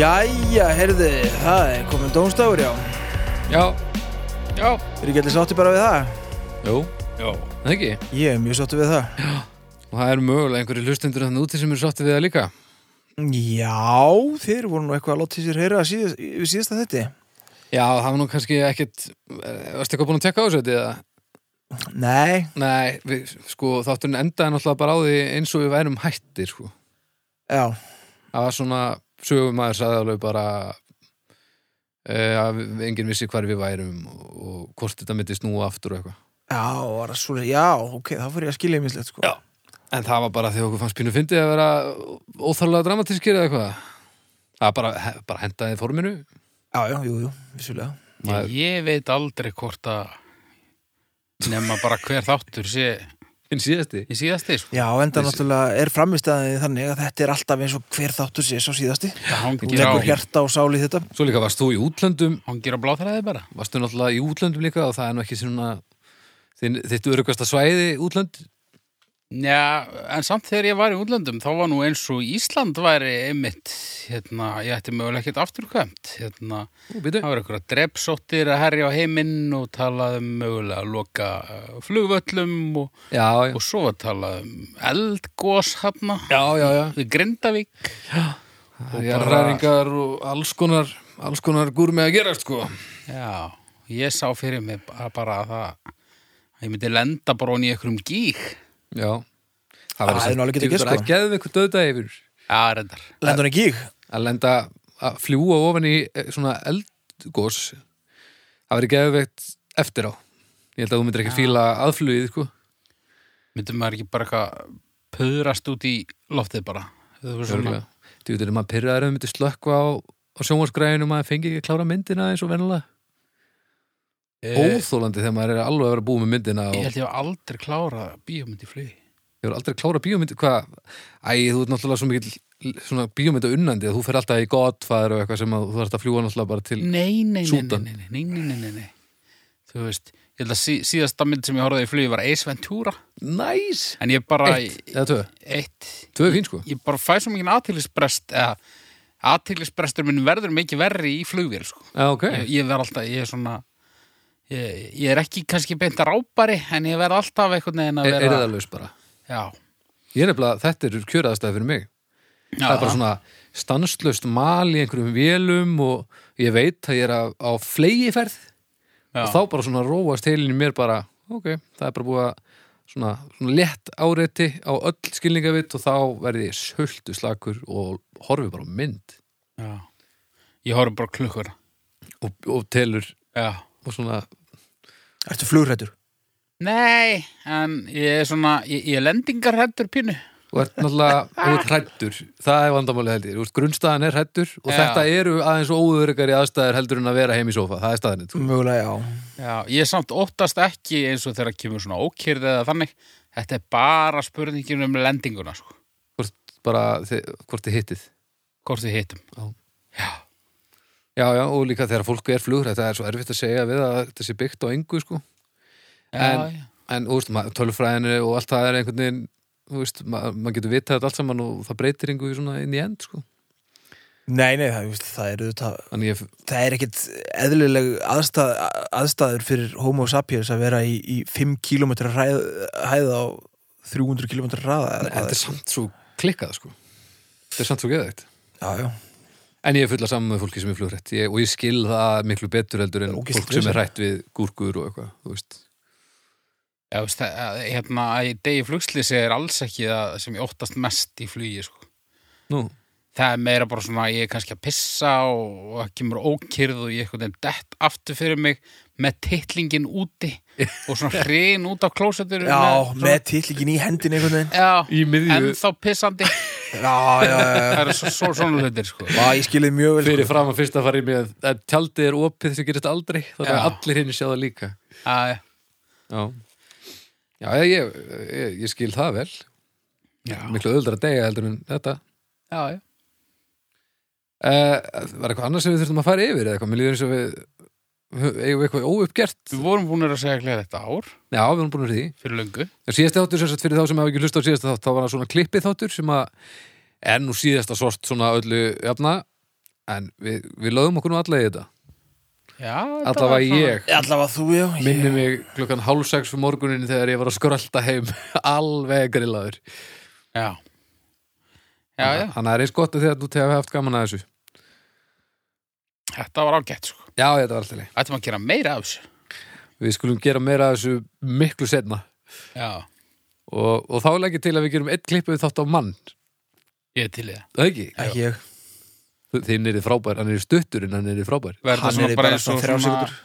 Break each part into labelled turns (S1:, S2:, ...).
S1: Jæja, heyrðu, það er komin dómstafur, já.
S2: Já, já
S1: Er ekki allir sátti bara við það?
S2: Jú, já Það ekki,
S1: Ég er mjög sátti við það.
S2: og það eru mögulega einhverju hlustendur þannig úti sem eru sátti við það líka
S1: Já, þeir voru nú eitthvað að láta í sér heyra síðast, við síðasta þetta.
S2: Já, það var nú kannski ekkit eh, Varstu eitthvað búin að tekka á þessu þetta eða?
S1: Nei,
S2: Nei, við, sko, þátturinn endaði náttúrulega bara á því eins og við værum hættir sko.
S1: já,
S2: Það var svona, sögumæður sagði alveg bara e, að við- enginn vissi hvar við værum og, og hvort þetta myndi snúa aftur og eitthvað
S1: já, var það svona, já, ok, þá fyrir ég að skilja mislegt, sko.
S2: Já. En það var bara því okkur fannst pínu fyndið að vera óþarlega dramatískir eða eitthvað. Það bara, bara hendaði forminu.
S1: Já, já, jú, jú, vissulega.
S2: Maður-
S3: Ég veit aldrei hvort að nema bara hver þáttur sé
S2: Hinn síðasti.
S3: í síðasti sko.
S1: Já, enda
S2: Vissu-
S1: náttúrulega er framistæðið þannig að þetta er alltaf eins og hver þáttur sé svo síðasti.
S3: Það
S1: Þú
S3: hangir á,
S1: leggur hjarta og sál í þetta.
S2: Svo líka varst þú í útlöndum,
S3: hangir á bláþræði bara.
S2: varstu náttúrulega í útlöndum líka og það er nú ekki svona þinn, þitt örugasta svæði útlönd.
S3: Já, en samt þegar ég var í útlöndum þá var nú eins og Ísland væri einmitt, hérna, ég ætti mögulega ekkert afturkvæmt, hérna,
S2: Ú, býtu.
S3: það var einhverja drepsóttir að herja á heiminn og talaði um mögulega að loka eh, flugvöllum og,
S2: Já, já.
S3: og svo var talað um eldgós hérna
S2: Já, já, já.
S3: við Grindavík
S2: Það er ræðingar og alls konar, alls konar gúr með að gera, sko.
S3: Já, ég sá fyrir mig bara, bara að það að ég myndi lenda bara onni í einhverjum gík
S2: Já.
S1: Það er nú alveg getur gerst, sko.
S2: Það geðum ykkur döðda yfir.
S3: Já, reyndar
S1: Lendur hann gík?
S2: að lenda að fljúa ofan í eh, svona eldgós það verið geðveikt eftir á ég held að þú myndir ekkert fíla aðflugið sko.
S3: myndi maður ekki bara eitthvað pöðrast út í loftið bara Þú veist svona
S2: Örugglega. þú veitir, maður pyrraður að myndir slökka á, á sjónvarsgræðinu maður fengi ekki að klára myndina eins og venulega
S3: Eh,
S2: óþólandi þegar maður er alveg að vera búið með myndina og
S3: Ég
S2: ég
S3: held ég að aldrei klára bíómynd í flugi
S2: hefur aldrei klárað bíómynd hvað, æ, þú ert náttúrulega svo mikil svona bíómynda unnandi að þú fer alltaf í godfæður og eitthvað sem að, þú þarfst að fljúa náttúrulega bara til
S3: Nei, nei, nei, nei,
S2: Súdan.
S3: nei, nei, nei, nei, nei, nei Þú veist, ég held að sí, síðasta mynd sem ég horfði í flugi var Ace Ventura
S2: næs,
S3: En ég bara
S2: eitt eða tvö,
S3: eitt
S2: tvö er fín sko
S3: Ég bara fæ svo mikið aðtýlisbrest eða aðtýlisbrestur minn verður mikið verri í flugvél sko
S2: já, ok,
S3: ég, ég verð alltaf, ég er svona ég, ég er ekki kannski beint rápari en ég verð alltaf einhvern veginn að
S2: er,
S3: vera
S2: er það laus bara
S3: já,
S2: Ég er nefnilega, þetta er kjöraðastæði fyrir mig.
S3: já,
S2: það er bara svona stanslust mal í einhverjum vélum og ég veit að ég er á, á flegiferð
S3: já,
S2: og þá bara svona róast heilin í mér bara, ok, það er bara búið að svona, svona létt áreiti á öll skilningavitt og þá verði ég söldu slakur og horfi bara á mynd
S3: já. ég horf bara á klukkur
S2: og, og telur
S3: já.
S2: og svona,
S1: Ertu flugrættur?
S3: nei, en ég er svona ég, ég er lendingarhættur pínu
S2: og ert náttúrulega, þú ert hrættur það er vandamálið heldur, þú ert grunnstaðan er hrættur og
S3: Já.
S2: þetta eru aðeins óðurugari aðstæður heldur en að vera heim í sofa, það er staðan sko.
S1: Mögulega, já.
S3: já, ég er samt óttast ekki eins og þegar kemur svona ókyrð eða þannig þetta er bara spurningin um lendinguna sko.
S2: hvort bara, þið, hvort þið hittið
S3: hvort þið hittum
S2: Já, já, og líka þegar fólk er flugrætt það er svo erfitt að segja við að þetta sé byggt á engu sko. En-
S3: já,
S2: en þú veist, maður- tölfræðinu og allt það er einhvern veginn þú veist, maður, maður getur vitað þetta allt saman og það breytir engu svona inn í end sko.
S1: Nei, nei, það, veist, það er auðvitað
S2: þannig ég,
S1: það er ekkit eðlileg aðstæð, aðstæður fyrir homo sapiens að vera í, í 5 km hæð, hæð á 300 km raða eða hvað
S2: þetta er samt svo klikkað sko. þetta er samt svo geðvægt
S1: Já, já,
S2: en ég er fulla saman með fólki sem er flugrætt ég, og ég skil það miklu betur heldur en
S1: Það er ógeðslega
S2: fólk sem er
S1: vesen.
S2: hrætt við gúrkur og eitthvað, þú veist
S3: Já, veist, það- að, hérna, að í degi flugslýsi er alls ekki það sem ég óttast mest í flugi sko.
S2: Nú,
S3: það er meira bara svona að ég er kannski að pissa og, og það kemur ókyrð og ég eitthvað en dett aftur fyrir mig með titlingin úti og svona hrein út af klósetur
S1: já með tillíkin í hendin einhvern veginn
S3: já,
S2: í miðju
S3: ennþá pissandi
S1: Já, já, já, já.
S3: það eru svo, svo, svona hlutir sko
S1: Vá, ég skilði mjög vel
S2: fyrir fram að fyrst að fara í með að tjaldið er opið sem gerist aldrei þannig að
S3: Já.
S2: allir hinn sjá það líka
S3: að,
S2: Já, já ég, ég, ég, ég skil það vel
S3: já,
S2: miklu öðuldra að degja heldur en þetta
S3: já, já.
S2: uh, Var eitthvað annars sem við þurftum að fara yfir eða eitthvað, mér líður eins og við eigum við eitthvað óuppgert Já,
S3: við vorum búin að segja gleða þetta ár
S2: við erum búin að því
S3: fyrir löngu
S2: En Síðasti þáttur sem sagt fyrir þá sem hafa ekki hlusta á síðasta þátt þá var það svona klippið þáttur sem að er nú síðasta sort svona öllu jafna en við, við lögum okkur nú alla í þetta
S3: Já, þetta var
S2: allavega
S3: svona-
S2: ég
S1: allavega þú, já
S2: minni mig klukkan hálf sex fyrir morgunin þegar ég var að skrölda heim alveg grillaður
S3: Já, já, já,
S2: þannig að það er eins gott að þegar þú tegur haft gaman að þessu
S3: þetta var ágætt sko.
S2: já, þetta var alltaf leið
S3: Þetta maður gera meira af þessu
S2: við skulum gera meira að þessu miklu setna
S3: Já,
S2: og, og þá legg ég til að við gerum eitt klippu þátt á mann
S3: ég er til í það
S2: það ekki?
S1: ekki ég,
S2: þinn er frábær, hann er stuttur en hann er frábær
S3: Verður það
S1: hann
S3: svona
S1: er
S3: bara
S1: bara
S3: eins og
S1: svona þrjá
S3: svona
S1: sekundur
S2: já,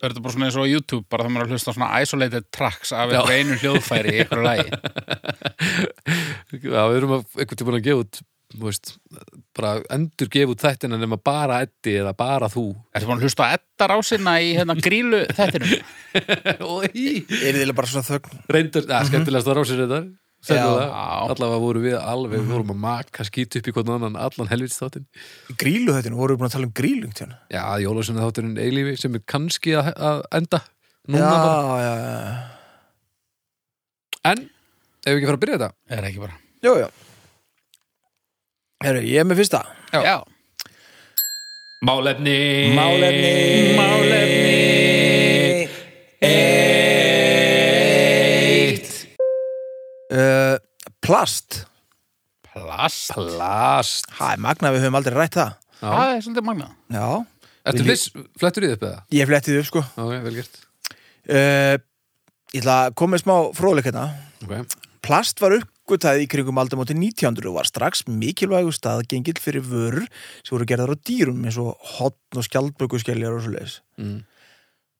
S3: Verður það bara svona eins og á YouTube bara það maður er að hlusta á svona isolated tracks af
S2: Já.
S3: eitthvað einu hljóðfæri í ykkur lagi
S2: já við erum að, einhvern tímann að gefa út þú veist, bara endur gefa út þættina nema bara Eddi eða bara þú
S3: Ertu búin að hlusta á Eddar á sinna í hérna grílu þettinum?
S2: Oj.
S1: er þið bara svona þögn
S2: reyndar, ja, skemmtilegast var ásir þetta
S1: Mhm. Já.
S3: Já.
S2: allavega voru við alveg við vorum að maka skýt upp í hvernig annan allan helvits þáttinn
S1: grílu þetta, vorum við búin að tala um grílu tján.
S2: já, Jólasunni þátturinn eilífi sem er kannski að, að enda
S1: já,
S2: núna bara,
S1: já, já,
S2: en ef við ekki fara að byrja þetta
S3: Er ekki bara
S1: já, já. Heru, ég er með fyrsta
S2: Já.
S3: Já,
S2: Málefni
S1: Málefni Málefni Eitt uh, Plast
S3: plast
S2: Plast
S1: Það er magna, við höfum aldrei rætt það
S3: Það er svolítið magnað
S1: Já,
S2: Ertu
S1: Vil ég-
S2: viss, flettur í þið upp eða?
S1: ég fletti þau upp sko
S2: Ok, vel gert
S1: uh, Ég ætla að koma með smá fróðleik hérna
S2: Ok,
S1: Plast var uppgötaði í kringum aldamóti 1900 og var strax mikilvægu staðgengill fyrir vörur sem voru gerðar á dýrum eins og hotn og skjaldbökuskeljar og svoleiðis.
S2: Mm.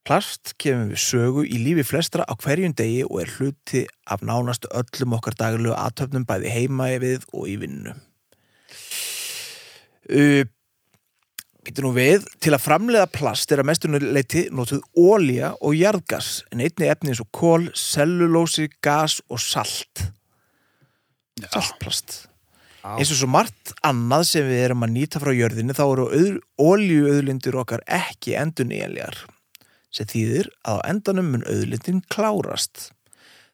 S1: Plast kemur við sögu í lífi flestra á hverjum degi og er hluti af nánast öllum okkar daglegu aðtöfnum bæði heima við og í vinnu. Uh, Býtu nú við, til að framleiða plast er að mestunleiti notuð ólía og jarðgas en einni efni eins og kól, sellulósi, gas og salt. Saltplast.
S2: Á.
S1: Eins og svo margt annað sem við erum að nýta frá jörðinni þá eru ólíuauðlindir okkar ekki endunýjanlegar sem þýðir að á endanum mun auðlindin klárast.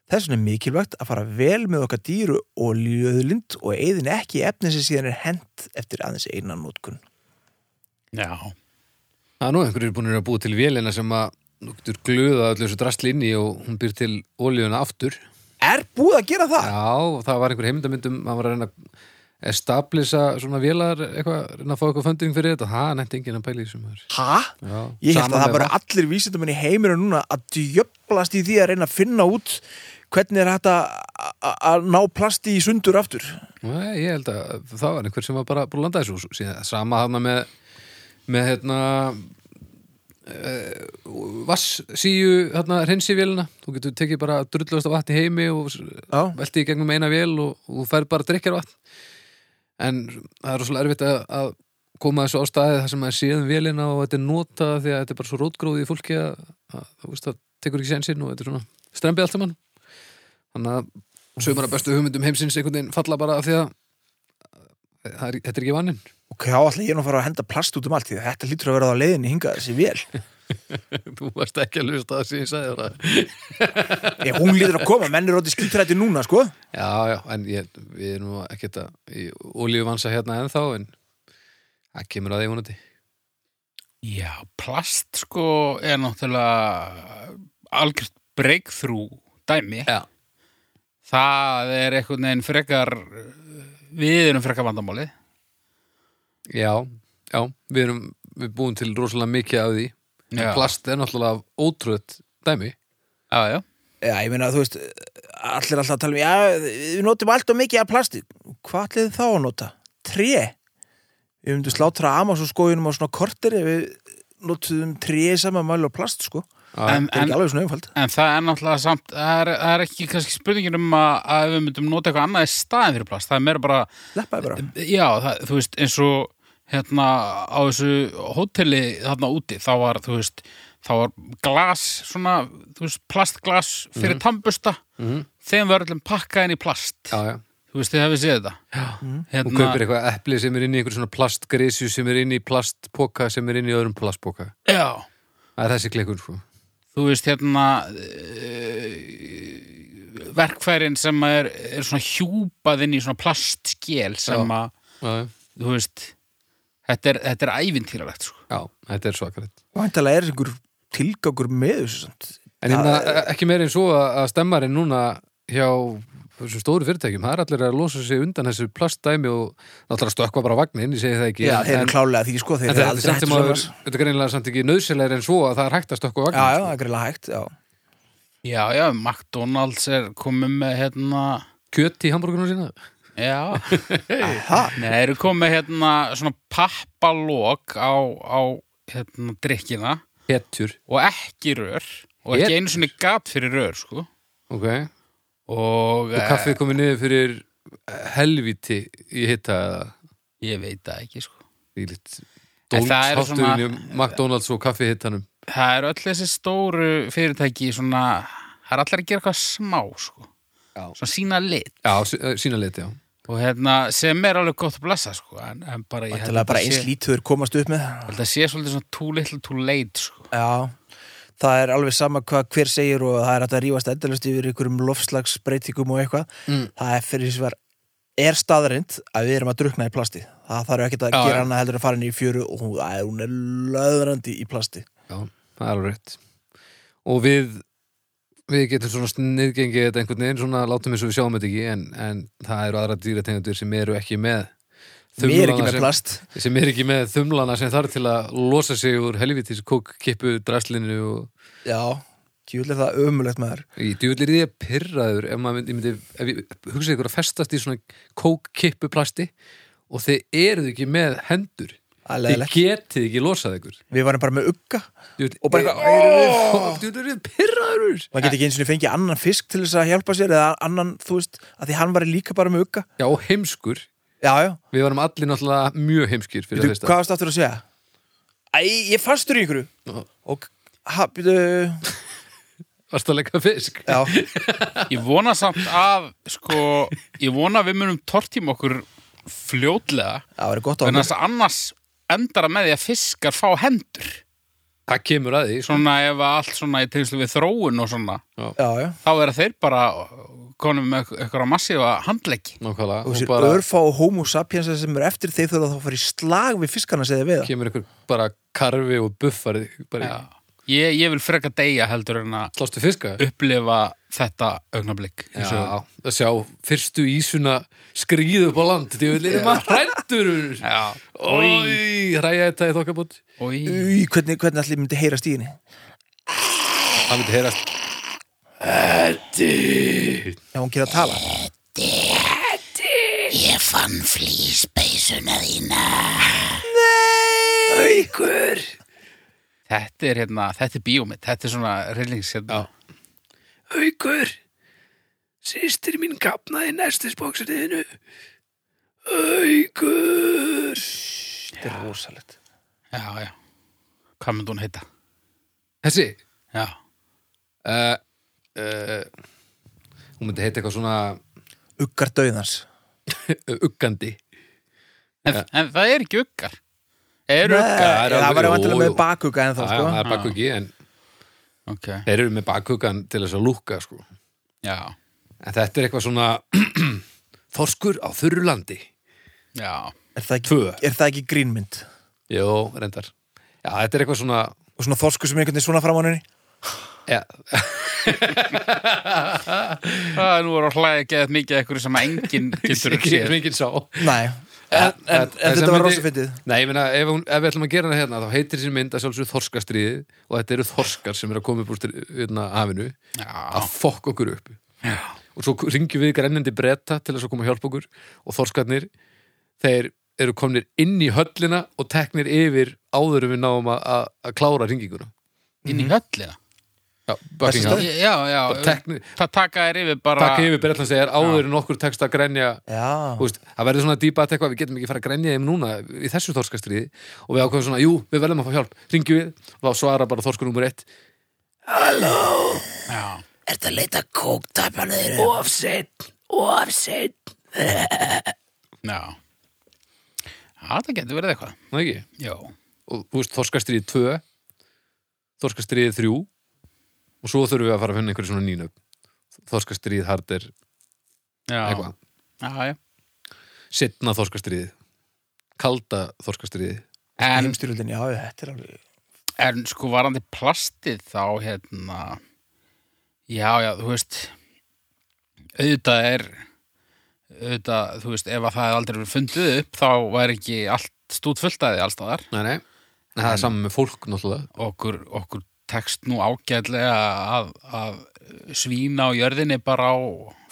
S1: Þess vegna er mikilvægt að fara vel með okkar dýru ólíuauðlind og eigðin ekki í efni sem síðan er hent eftir aðeins einan nótkun.
S3: Já,
S2: það er nú einhverjir búin að búa til vélina sem að nú getur glöða öllu þessu drastli inn í og hún býr til olíuna aftur
S1: Er búið að gera það?
S2: Já, og það var einhver heimindamyndum hann var að reyna að establisa svona vélar eitthvað, reyna að fá eitthvað funding fyrir þetta það nefndi enginn að pæla í þessum maður.
S1: Hæ?
S2: Já,
S1: Ég held
S2: sama
S1: að það
S2: með
S1: bara
S2: vatn.
S1: allir vísindamenn í heiminum núna að djöblast í því að reyna að finna út hvernig er hægt að- að að ná plasti í sundur aftur.
S2: Nei, ég held að það var einhver sem var bara búin að landa þessu og síðan sama hana með með hérna vassíu hérna hreinsivélina, þú getur tekið bara drullast á vatn í heimi og
S1: Já.
S2: velti í gegnum eina vél og, og þú fær bara drikkar vatn en það er rosalega erfitt að, að koma þessu á staðið þar sem maður séðum vélina og þetta er notað því að þetta er bara svo rótgróði í fólki að, að, að veist, það tekur ekki sensinn og þetta er svona strempið allt saman þannig að sömur að bestu hugmyndum heimsins einhvern veginn falla bara af því að það er, þetta er ekki vannin
S1: Og hvað ætla ég nú að fara að henda plast út um allt því að þetta lítur að vera á leiðinni hingað þessi vél.
S2: þú varst ekki að lusta það sem ég sagði það
S1: Ég, hún lítur að koma, menn eru átti skýtrætti núna, sko.
S2: Já, já, en ég, við erum nú ekkert að í olíuvansa hérna ennþá en það kemur að því vonandi
S3: já plast sko er náttúrulega algjört breakthrough dæmi
S2: Já.
S3: Það er einhvern veginn frekar við erum frekar vandamáli
S2: Já, já, við erum við búum til rosalega mikið af því en
S3: Já.
S2: plast er náttúrulega ótröð dæmi
S3: Já, já
S1: Já, ég meina, þú veist, allir alltaf að tala um, já, við notum allt og mikið af plasti. Hvað ætlið þið þá að nota? Tré. Við myndum slátra Amazon skoðunum á svona kortir ef við notuðum tré saman mælu og plast, sko.
S2: Já,
S3: En-
S1: Það er ekki alveg svona einfald.
S3: En það er náttúrulega samt, það er, það er ekki kannski spurningin um að, að við myndum nota eitthvað annað í staðin fyrir plast, það er meira bara
S1: Leppaði bara.
S3: já, það, þú veist, eins og hérna á þessu hóteli þarna úti, þá var, þú veist þá var glas, svona þú veist, plastglas fyrir mm tambusta
S2: Mhm.
S3: þeim var öllum pakkað inn í plast
S2: já, já.
S3: þú veist, þið hefði séð þetta Hérna,
S2: Hún
S1: Hérna-
S2: kaupir eitthvað epli sem er inn í einhver svona plastgrísu sem er inn í plastpoka sem er inn í öðrum plastpoka
S3: já,
S2: Það er þessi klikkun, sko
S3: þú veist, hérna e, verkfærin sem er, er svona hjúpað inn í svona plastskjel sem
S2: Já.
S3: að
S2: Já, já.
S3: þú veist Þetta er, þetta er ævintýralegt, sko.
S2: Já, þetta er svakarætt
S1: Væntalega er einhver tilgangur með þessu samt.
S2: En ég
S1: Það
S2: meina, ekki meira en svo að að stemmarinn núna hjá þessum stóru fyrirtækjum, það er allir að losa sig undan þessu plastdæmi og náttúrulega stökkva bara vagnin, ég segi það ekki
S1: Já,
S2: en-
S1: þeir eru
S2: en-
S1: klálega því, sko, þeir
S2: en
S1: eru
S2: þetta er
S1: aldrei
S2: samt
S1: hægt
S2: sem áður-
S1: svona.
S2: þetta er greinilega samt ekki nöðsilegar en svo að það er hægt að stökkva
S1: Já, já,
S2: vagnin
S1: það er greiðlega hægt, já.
S3: Já, já, McDonalds er komið með, hérna,
S2: kjöt í hambúrgunum sína
S3: já,
S1: Aha,
S3: Nei, þeir eru komið með, hérna, svona pappalók á, á, hérna, drikkina
S2: Hetjur,
S3: og ekki rör og ekki
S2: Ég-
S3: einu sinni gat fyrir rör, sko.
S2: ok og
S3: Og,
S2: kaffið komið niður fyrir helviti í hitta
S3: eh, ég veit það ekki, sko.
S2: í lit
S3: En það eru svona-
S2: dólshátturinn í McDonalds og kaffi hittanum
S3: Það eru öll þessi stóru fyrirtæki svona, það er allir að gera eitthvað smá, sko.
S2: Já.
S3: Svona sína lit.
S2: Já, sí- eh, sína lit, já
S3: Og hérna, sem er alveg gott að blessa, sko, en, en bara, ég
S1: Væntalega bara eins
S3: sé,
S1: lítur komast upp með.
S3: ég held að sé svolítið svona too little too late, sko.
S1: Já, það er alveg sama hvað hver segir og það er hægt að rífast endalust yfir einhverjum lofslagsbreytingum og eitthvað.
S2: Mm.
S1: Það er fyrir svar, er staðarind að við erum að drukna í plasti. Það þarf ekki að
S3: Já,
S1: gera
S3: já.
S1: hana heldur en að fara inn í fjöru og hún, að, hún er löðrandi í plasti.
S2: Já, það er alveg rétt og við við getum svona sniðgengið þetta einhvern veginn svona látum eins og við sjáum þetta ekki en, en það eru aðra dýrategundur sem eru ekki með
S1: Við erum ekki
S2: þumlana
S1: með plast.
S2: sem, sem eru ekki með þumlana sem þarf til að losa sig úr helvitis kókkippu draslinu og
S1: Já, djúlega er það ömulegt maður.
S2: í djúlir því að pyrraður ef maður myndi, ég myndi ef ég hugsaði ykkur að festast í svona kókkippu plasti og þið eruð ekki með hendur
S1: Það er
S2: þið
S1: leðilegt.
S2: getið ekki losað ykkur
S1: Við varum bara með ugga.
S2: djúlir,
S1: Og bara eitthvað, "Ó!"
S2: djúlir því pyrraður
S1: Maður geti ekki eins og fengið annan fisk til þess að hjálpa sér eða annan, þú veist, að því hann var líka bara með ugga.
S2: já, og heimskur
S1: Já, já.
S2: Við varum allir náttúrulega mjög heimskir fyrir
S1: Þú,
S2: það
S1: hvað
S2: fyrsta.
S1: varst aftur að segja? Æ, ég fastur í ykkur
S2: Já.
S1: Og, ha, býtu
S2: Varst að leika fisk?
S1: Já,
S3: Ég vona samt að, sko, ég vona að við munum tortíma okkur fljótlega,
S1: það verið gott á
S3: en
S1: okkur
S3: þess að annars endar að með því að fiskar fá hendur.
S2: Það kemur að því.
S3: Svona ef að allt svona í tengslu við þróun og svona,
S1: Já, já,
S3: þá er þeir bara konum með eitthvað massífa handleggi.
S2: Nákvæmlega.
S1: og
S2: Og
S1: sér
S2: bara
S1: örfá og homo sapiens sem eru eftir þeir þurfa þá að fara í slag við fiskarna segði við það
S2: kemur einhver bara karfi og buffar bara
S3: Já. Ég, ég vil freka deyja heldur en að
S2: slástu fiska.
S3: upplifa þetta augnablík. í sögu.
S2: Já, að sjá fyrstu ísuna skríðu upp á land. Því við erum að hrættur.
S3: Já.
S2: Ói,
S3: Oj,
S2: hræja þetta í þokkabót.
S3: oj.
S1: Í, hvernig, hvernig allir myndi heyra stíðinni
S2: Það myndi heyrast.
S1: ef hún kýr að tala
S4: Ég fann flýspeysuna þína.
S2: Aukur!
S3: Þetta er hérna, þetta er bíómið, þetta er svona reylings hérna.
S2: Já. Aukur! Sýstir mín kapnaði næstisbóksriðinu. Aukur!
S1: Þetta er rosalegt
S3: Já, já. Hvað myndi hún heita?
S2: Þessi,
S3: Já.
S2: uh, uh, hún myndi heita eitthvað svona
S1: Uggar döðans
S2: uh, uggandi
S3: En, en það er ekki uggar. Er uggar?
S2: það er
S1: það
S2: alveg-
S1: var
S2: jú,
S1: vantilega með
S2: jú.
S1: bakugga en þá
S2: það,
S1: sko
S2: það er bakkugi en
S3: Ok.
S2: þeir eru með bakkuggan til þess að lúkka sko.
S3: Já.
S2: en þetta er eitthvað svona þorskur á þurru landi
S3: Já.
S1: er það, ekki,
S2: Tvö.
S1: er það ekki grínmynd?
S2: Jó, reyndar Já, þetta er eitthvað svona
S1: Og svona þorsku sem einhvern veginn svona fram á henni
S2: ja,
S3: Það er nú voru að hlæða ekki eða mikið að einhverju sem enginn getur
S2: ekki
S3: séð.
S2: mikið sá
S1: Nei, en, en, en,
S2: En sem
S1: þetta var
S2: myndi-
S1: rosa fyndið
S2: Nei, ég meina, ef, hún, ef við ætlum að gera hana hérna þá heitir þessi mynd að sjálfsögur þorskastríði og þetta eru þorskar sem eru að koma upp úr stri- hérna, hafinu
S3: Já.
S2: að fokk okkur upp
S3: Já.
S2: og svo ringjum við grænlendi bretta til þess að koma að hjálpa okkur og þorskarnir þeir eru komnir inn í höllina og teknir yfir áður en við náum að, að, að klára ringinguna
S3: Inn í höllina.
S2: Já, Buckingham
S1: Þessi
S3: Já, já.
S2: Bara teknir,
S3: Það taka þér yfir bara...
S2: taka yfir Bretlands þegar áður en okkur tekst að grænja þú
S1: Já,
S2: veist, það verður svona dýpa að tekka við getum ekki fara að grænja þeim núna í þessu þorskastriði og við ákveðum svona, jú, við verðum að fá hjálp ringjum við og þá svara bara þorskur nummer eitt
S3: Já.
S4: Ertu að leita kóktæpanur? Ofsett, ofsett.
S3: Já. Já, það getur verið eitthvað.
S2: Ná ekki?
S3: Já.
S2: og þú veist, þorskastriði 2 þorskastriði 3 og svo þurfum við að fara að finna einhverju svona nýnöfn þorskastriði hardir
S3: Já.
S2: eitthvað,
S3: Já, já.
S2: setna þorskastriði kalda þorskastriði
S3: en,
S1: heimstyrjöldin, já, þetta er alveg
S3: en sko varandi plastið þá hérna já, já, þú veist auðvitað er auðvitað, þú veist, ef að það hefði aldrei verið fundið upp, þá væri ekki allt stútfullt að því allstaðar
S2: Nei, nei, en það er saman með fólk náttúrulega
S3: okkur, okkur tekst nú ágætlega að, að svína á jörðinni bara á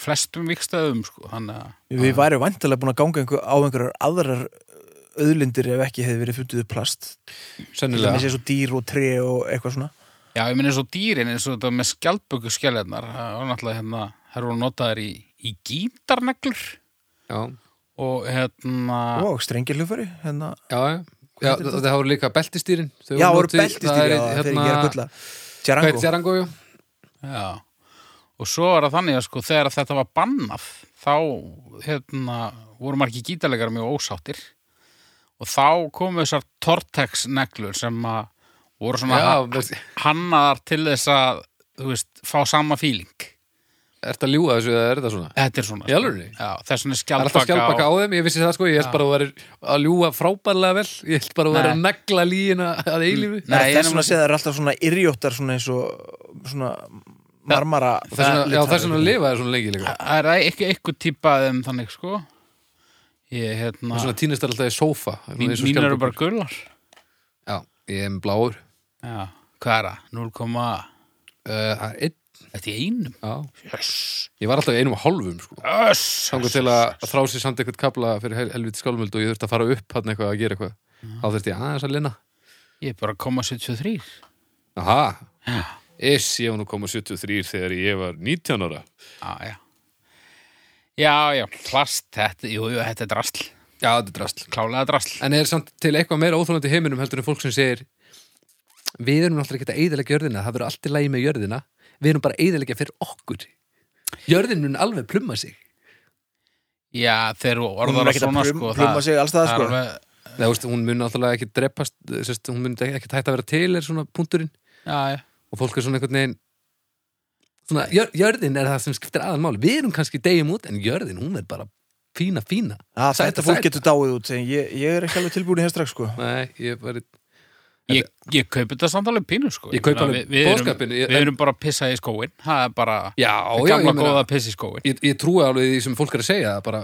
S3: flestum vikstöðum sko. þannig að
S1: Við
S2: Ah.
S1: væri vantilega búin að ganga einhver, á einhverjar aðrar uh, auðlindir ef ekki hefði verið fundið upp plast Til
S2: Sennilega
S1: dæmis eins og dýr og tre og eitthvað svona
S3: já, ég minn eins og dýrin eins og þetta með skjaldböku skjæljarnar það var náttúrulega hérna, þær voru notaðar í, í gítarneglur
S2: Já,
S3: og hérna
S2: Ah.
S1: og strengir hljófari hérna.
S2: já, já, já það hafa líka beltistýrin Þau
S1: Já, voru
S2: notuð- það er
S1: beltistýri
S2: í,
S1: þegar ég er að
S2: hérna,
S1: gulla Djarango,
S2: Hvað er Djarango, já
S3: já, og svo er það þannig að sko þegar þetta var bannað þá hérna voru margir gítarlegar mjög ósáttir og þá komu þessar Tortex neglur sem að voru svona
S2: Já, veist,
S3: hannaðar til þess að þú veist, fá sama fíling
S2: ert að ljúga þessu eða er þetta svona?
S3: þetta er svona sko.
S2: Í alvörunni?
S3: já, þess vegna er
S2: Það er alltaf
S3: skjaldbaka,
S2: skjálpaka á
S3: og,
S2: þeim, ég vissi það sko, ég held bara að þú væri að ljúga frábærlega vel, ég held bara að þú væri að negla líina að eilífi.
S3: Nei,
S1: það er
S3: ég nefnilega-
S1: svona að segja það er alltaf svona yrjóttar svona eins og svona marmara
S2: Og þess vegna- Já,
S1: litar-
S2: þess vegna lifa þér svona lengi
S1: Ah.
S2: líka.
S3: það er ekki eitthvað típa af þeim þannig sko ég hérna,
S2: Og svona týnist þær alltaf í sófa. svona
S3: mín,
S2: eins og
S3: mín eru
S2: skjaldbökur.
S3: bara gullar
S2: Já, ég er með bláur.
S3: já, hvað er það? 0,
S2: Uh, það er einn,
S3: þetta er í einum
S2: já.
S3: öss,
S2: Ég var alltaf í einum og hálfum, sko.
S3: öss
S2: Sangu til að þrá sér samt eitthvað kabla fyrir hel helviti skálmöld og ég þurfti að fara upp hann eitthvað að gera eitthvað. Þá þurfti ég aðeins að linna.
S3: ég er bara að koma 73
S2: Aha,
S3: já,
S2: iss, ég var nú koma 73 þegar ég var 19 ára.
S3: já, já já, já, plast þetta, jú, jú, þetta er drasl
S2: Já, þetta er drastl.
S3: klálega drasl
S2: En er samt til eitthvað meira óþólandi í heiminum heldur en fólk sem segir við erum náttúrulega ekki að eyðilega jörðina, það verður allt í lagi með jörðina við erum bara að eyðilega fyrir okkur jörðin mun alveg plumma sig
S3: já, þeir eru
S1: Hún
S3: orðar
S1: er
S3: að
S1: ekkert að
S3: svona
S1: plum-
S3: sko
S1: pluma sig
S2: um
S1: alls staðar,
S3: það
S1: sko.
S3: er alveg,
S2: Nei, þú veist, hún mun náttúrulega ekki drepast sérst, hún mun ekki hægt að vera til er svona punkturinn
S3: já, já
S2: og fólk er svona einhvern veginn svona, jör, jörðin er það sem skiptir aðalmáli við erum kannski degjum út en jörðin, hún verður bara fína, fína
S1: Já,
S2: Sæta,
S1: Þetta fólk
S2: sæta.
S1: getur dáið út en ég, ég er ekki alveg tilbúin í hér strax sko
S2: Nei, ég var
S3: Ég, ég kaupi þetta samt alveg pínu sko
S2: Ég kaupi
S3: meina,
S2: alveg
S3: við- við erum-
S2: boðskapinn, ég-
S3: Við erum bara að pissa í skóin Það er bara
S2: Já,
S3: það
S2: já,
S3: gamla
S2: ég meina-
S3: góða að pissa í skóin
S2: ég, ég trúi alveg því sem fólk er að segja bara,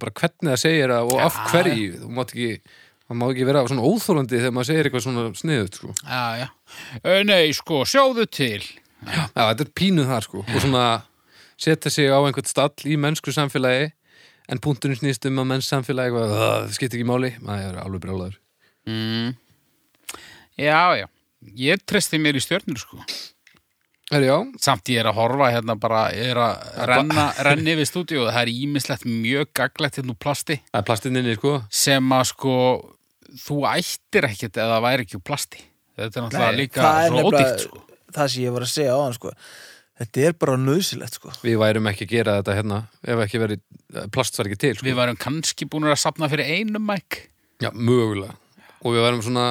S2: bara hvernig það segir það og af hverju þú mátt ekki það má ekki vera svona óþólandi þegar maður segir eitthvað svona sniðut sko.
S3: Já, já Ö, Nei, sko, sjáðu til
S2: já, þetta er pínuð þar sko. og svona setja sig á einhvern stall í mennsku samfélagi en punkturinn snýst um að menns samfélagi eitthvað, "Ugh, það skipt ekki máli, maður er alveg brjálaður
S3: mm. Já, já Ég treysti mér í stjörnur sko
S2: er já,
S3: Samt ég er að horfa hérna bara Ég er að renna, renni við stúdíu Það er ímislegt mjög gaglegt hérna úr plasti
S2: það er plastinninni sko.
S3: Sem að sko Þú ættir ekkert eða það væri ekki úr plasti Þetta er náttúrulega
S2: Nei,
S3: líka svo ódýrt sko
S1: það sem ég var að segja á hann sko Þetta er bara nöðsilegt sko
S2: við værum ekki að gera þetta hérna ef ekki verið, plast var ekki til sko.
S3: Við varum kannski búin að sapna fyrir einum mæk
S2: já, mögulega og við værum svona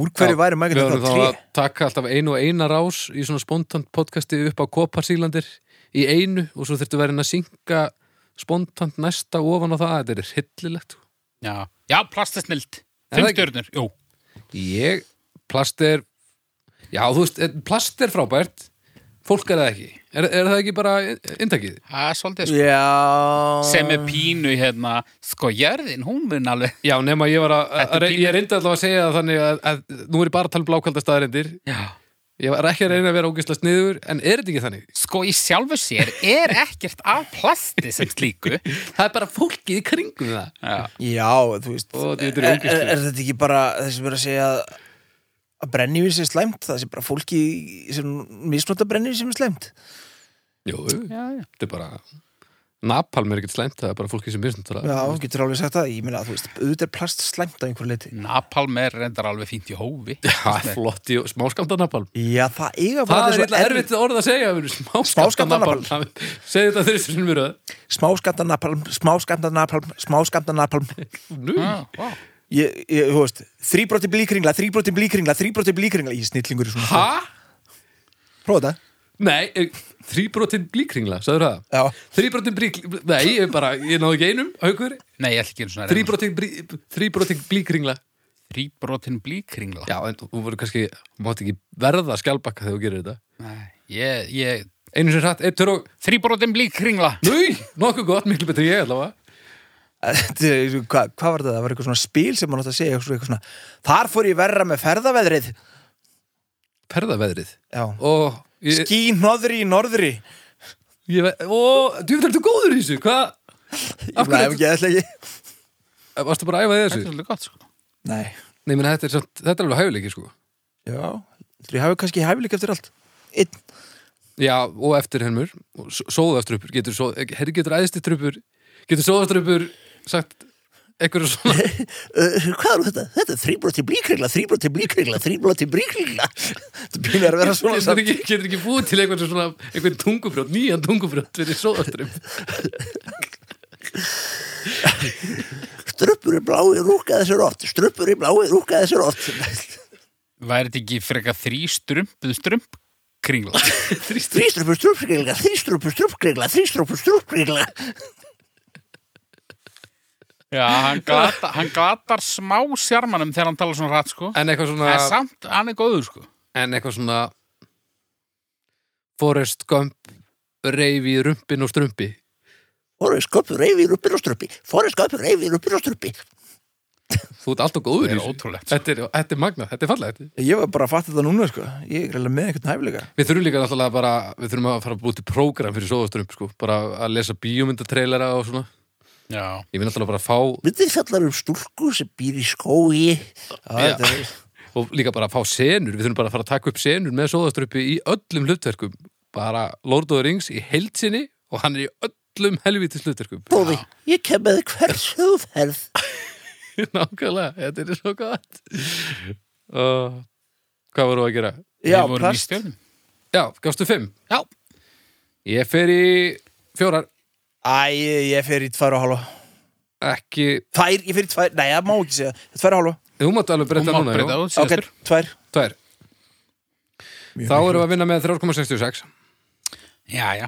S1: Úr hverju væri maður
S2: Við
S1: ekki
S2: vorum
S1: þetta
S2: þá
S1: tré?
S2: að taka alltaf einu og eina rás í svona spontant podcasti upp á Koparsýlandir í einu og svo þurftu verið að synga spontant næsta ofan á það þetta er sko. hillilegt
S3: Já, já plast er snild
S2: Er
S3: Fimm
S2: það ekki?
S3: stjörnur, jú
S2: Ég, plast er Já, þú veist, eh, plast er frábært fólk er það ekki Er, er það ekki bara inntakið?
S3: Það er svolítið sko
S1: Já
S3: sem er pínu hérna sko jörðin, hún mun alveg
S2: Já, nema ég var að,
S3: Þetta er
S2: að, að ég reyndi allavega að segja það þannig að, að nú er ég bara að tala um blákalda staðarindir
S3: Já.
S2: ég var ekki að reyna að vera ógislega sniður en er þetta ekki þannig?
S3: sko í sjálfu sér er ekkert af plasti sem slíku
S2: Það er bara fólkið í kringum það
S3: Já,
S1: Já, þú veist
S2: Ó, þetta
S1: er,
S2: er
S1: er,
S2: ógeðslegt.
S1: er þetta ekki bara þessi verið að segja að- að brennivín sé slæmt það sé bara fólki sem misnota brennivín sem er slæmt
S2: Jú, jú.
S3: já, já.
S2: þetta er bara napalm er ekkert slæmt, það er bara fólki sem misnum
S1: Já, þú getur alveg sagt það, ég meina að þú veist auðvitað er plast slæmt á einhver
S2: Mm.
S1: leiti
S3: Napalm er reyndar alveg fínt í hófi
S2: það er flott í smáskanda napalm
S1: Já, það eiga bara
S2: það er
S1: allir
S2: eitthvað erfitt orð að segja vinur, smáskammta
S1: Smáskammta
S2: napalm segðu þetta þeir sem eru
S1: Smáskamta napalm, smáskamta napalm, smáskamta napalm
S2: að
S3: Já, Ah, vá.
S1: Ég, ég, þú veist, þrýbrotin blíkringla, þrýbrotin blíkringla, þrýbrotin blíkringla Ég er snillingur í svona
S2: ha?
S1: Prófa þetta
S2: nei, eh, Þrýbrotin blíkringla, sagður það?
S1: Já.
S2: Þrýbrotin blíkringla, nei, ég bara, ég náðu ekki einum, haukur
S3: Nei, ég ætla ekki einu svona að reyna.
S2: Þrýbrotin, blí, þrýbrotin blíkringla
S3: Þrýbrotin blíkringla
S2: Já, en þú voru kannski, mátt ekki verða skjálpakka þegar þú gerir þetta
S3: Nei, ég, ég
S2: Einu sem hratt, eitt, tör og,
S3: Þrýbrotin blíkringla
S2: nui, nokkuð gott, miklu betur ég allavega
S1: Þetta er- Hvað hva var þetta? Það var eitthvað svona spil sem mann átt að segja eitthvað eitthvað svona, Þar fór ég verra með ferðaveðrið
S2: Perðaveðrið
S1: Já.
S2: Og, ég,
S1: Skí hnoðri í norðri
S2: ég, ve- og, þú veit, ertu góður í þessu, hvað Af
S1: Ég
S2: hverju
S1: blæði ekki eða ekki
S2: Varstu bara að æfa þig í
S3: Þetta er
S2: þessu?
S3: svolítið gott sko
S1: Nei,
S2: Nei, meni, þetta, er samt, þetta er alveg hæfileiki, sko
S1: já Þú hafi kannski hæfileik eftir allt Einn,
S2: Já, og eftir hennur Sóðastrupur, getur sóð eh, Herri getur æðstistrupur, getur sóðastrupur sagt einhverju svona
S1: uh, hvað er þetta? Þetta er þrýbroti blíkringla, þrýbroti blíkringla, þrýbroti blíkringla Þetta byrjar að vera svona
S2: getur,
S1: samt.
S2: ekki, getur ekki búið til einhvern svona einhvern tungufrjótt, nýjan tungufrjótt fyrir sóðastrup
S1: Struppur í blái rúkaði sér oft Struppur í blái rúkaði sér oft
S3: Væri þetta ekki frekar þrý strumpuð strumpkringla
S1: Þrýstruppur struppkringla, þrýstruppur struppkringla, þrýstruppur struppkringla
S3: Já, hann glatar, hann glatar smá sjarmanum þegar hann talar svona rætt sko
S2: en eitthvað svona
S3: En samt, hann er góður sko
S2: en eitthvað svona Forrest Gump reyfi rumpin og strumpi
S1: Forrest Gump reyfir uppir og struppi Forrest Gump reyfir uppir og struppi
S2: Þú ert alltaf góður
S3: Það
S2: í
S3: er
S2: þessu
S3: ótrúlegt sko.
S2: Þetta er, þetta er magnað, þetta er fallegt
S1: Ég var bara að fatta þetta núna sko Ég er reyna með einhvern hæfileika
S2: Við þurfum líka náttúrulega bara, við þurfum að fara að búið til prógram fyrir sóðastrump, sko, bara að lesa bíómyndatrailera og svona
S3: Já,
S2: Ég vil náttúrulega bara fá
S1: Myndið fjallar um stúlku sem býr í skói Já,
S2: Já.
S1: þetta er-
S2: og líka bara að fá senur, við þurfum bara að fara að taka upp senur með sóðaströppi í öllum hlutverkum bara Lord of the Rings í heildsinni og hann er í öllum helvítis hlutverkum
S1: Bóði, ég kem með þér hvert sem þú ferð
S2: nákvæmlega, þetta er svo gott og hvað voru að gera?
S1: Já,
S3: við vorum í
S1: plast
S3: stjörnum
S2: Já, gafstu fimm?
S3: Já,
S2: Ég fer í fjórar,
S1: Æ, ég fer í tvær og hálfa
S2: ekki
S1: Tvær, ég fer í tvær, nei, það má ekki segja Tvær og hálfa,
S2: þú máttu alveg breyta
S3: Þú mátt
S2: núna,
S3: breyta
S2: já,
S3: út síðastur
S1: tvær
S2: tvær þá erum við að vinna með 3,66
S3: Já, já,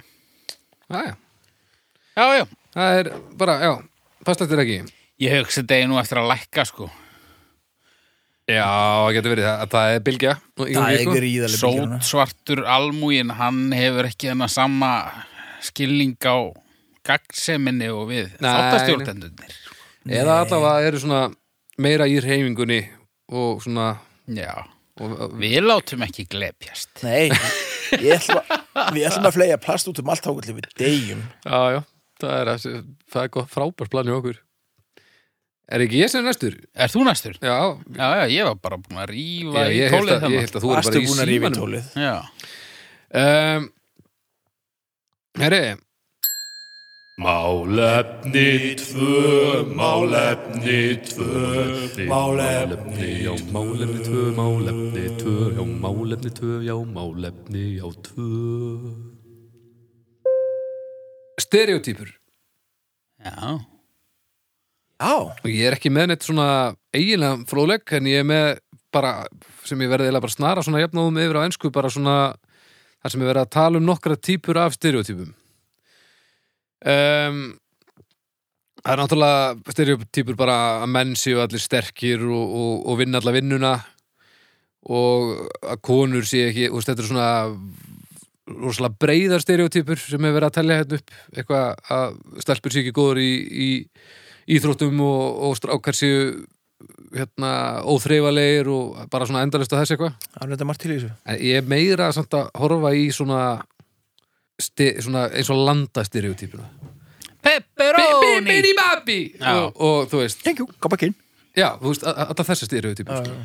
S2: Jæja,
S3: já, já
S2: það er bara, já, fast þetta er ekki
S3: Ég hugsa degi nú eftir að lækka sko
S2: Já, það getur verið það, það er bylgja í gangi,
S1: Það er
S2: sko.
S1: gríðarlega bylgjuna.
S3: Sótsvartur almúgin, hann hefur ekki þennan sama skilning á gagnseminni og við
S2: Nei.
S3: þáttastjórnendunir
S2: eða allavega eru svona meira í reyfingunni og svona
S3: Já,
S2: og,
S3: við látum ekki glepjast
S1: Nei, ég ætla, við ætlum að flega plast út um allt ákvæmlega við deyjum.
S2: já, já, það er, það er gott frábært plan hjá okkur er ekki ég sem er næstur?
S3: Er þú næstur?
S2: já,
S3: Já, já, ég var bara búin að rífa
S2: ég,
S3: í
S2: ég, held
S3: tólið
S2: að, ég
S3: þannig
S2: held að þú er
S1: Varstu
S2: bara í
S1: búin að rífa í
S2: símanum
S1: tólið.
S3: Já,
S2: um, herri
S5: Málefni tvö, málefni tvö, málefni, já, málefni tvö, málefni tvö, já, málefni tvö, já, málefni, já, tvö.
S2: stereotypur
S3: já
S1: Já,
S2: og ég er ekki með neitt svona eiginlega fróðleg en ég er með bara sem ég verði eiginlega bara snara svona jafnáðum yfir á ensku bara svona þar sem ég verið að tala um nokkra típur af stereotypum um, Það er náttúrulega stereotypur bara að menn séu allir sterkir og, og, og vinna alla vinnuna og að konur séu ekki, þú veist, þetta er svona rosalega breiðar stereotypur sem er verið að telja hérna upp eitthvað að stelpur séu ekki góður í, í íþróttum og, og strákar séu hérna, óþreifalegir og bara svona endalist að þessu eitthvað
S1: það er þetta margt til í þessu.
S2: en ég er meira samt að horfa í svona, sti, svona eins og landastereotypuna
S3: Pepperoni
S2: babi
S3: Já.
S2: og, og þú veist,
S1: Thank you, kom ekki inn.
S2: já, þú veist a- a- alltaf þessi stereotypur sko.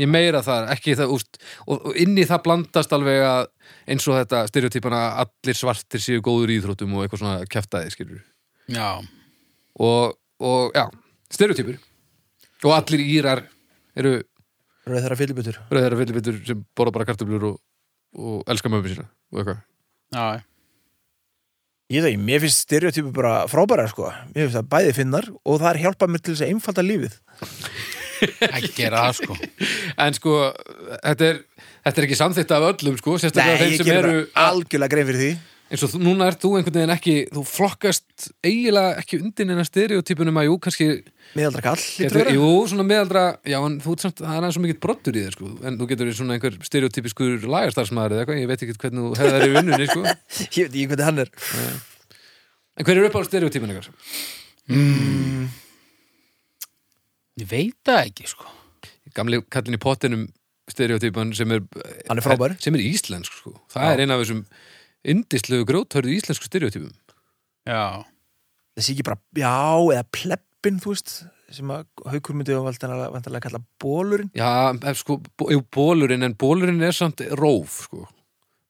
S2: ég meira þar, ekki það úst, og, og inn í það blandast alveg að eins og þetta stereotypana að allir svartir séu góður í íþróttum og eitthvað svona kjaftaði skilur
S3: Já,
S2: og, og já, stereotypur og allir írar eru
S1: Rauð þeirra fyllibutur.
S2: rauðherra fyllibittur sem borða bara kartöflur og, og elska mömmu sína og eitthvað
S3: já,
S1: Ég veit ekki, mér finnst stereotypu bara frábæra, sko. Mér finnst það bæði finnar og það er hjálpað mér til þess að einfalda lífið.
S3: ekki gera það sko
S2: en sko, þetta er, þetta er ekki samþýtt af öllum sko, sérstaklega þeim
S1: ég
S2: sem
S1: gerir
S2: eru
S1: algjörlega grein fyrir því.
S2: eins og þú, núna ert þú einhvern veginn ekki þú flokkast eiginlega ekki undir neina stereotypunum að jú, kannski
S1: miðaldra kall hlýtur að
S2: getur,
S1: vera.
S2: jú, svona meðaldra, já, en þú ert samt það er aðeins svo mikill brottur í þér, sko en þú getur verið svona einhver stereotypiskur lagarstarfsmaður eða eitthvað, ég veit ekki hvernig þú hefðar í vinnunni, sko en
S1: ég veit ekki hvernig hann er
S2: hver er upp á stereotypun ykkar?
S3: Ég veit það ekki, sko.
S2: Gamli kallin í pottinum stereotypun sem er
S1: Hann er frábær.
S2: sem er íslensk, sko, það
S1: Já.
S2: er eina af þessum indislegu gróthörðu íslensku stereotypum
S3: Já.
S1: þessi ekki bara, já, eða pleppin þú veist, sem að haukur myndi vantarlega kalla bólurinn
S2: Já, ef sko, bó- jú, bólurinn en bólurinn er samt róf sko.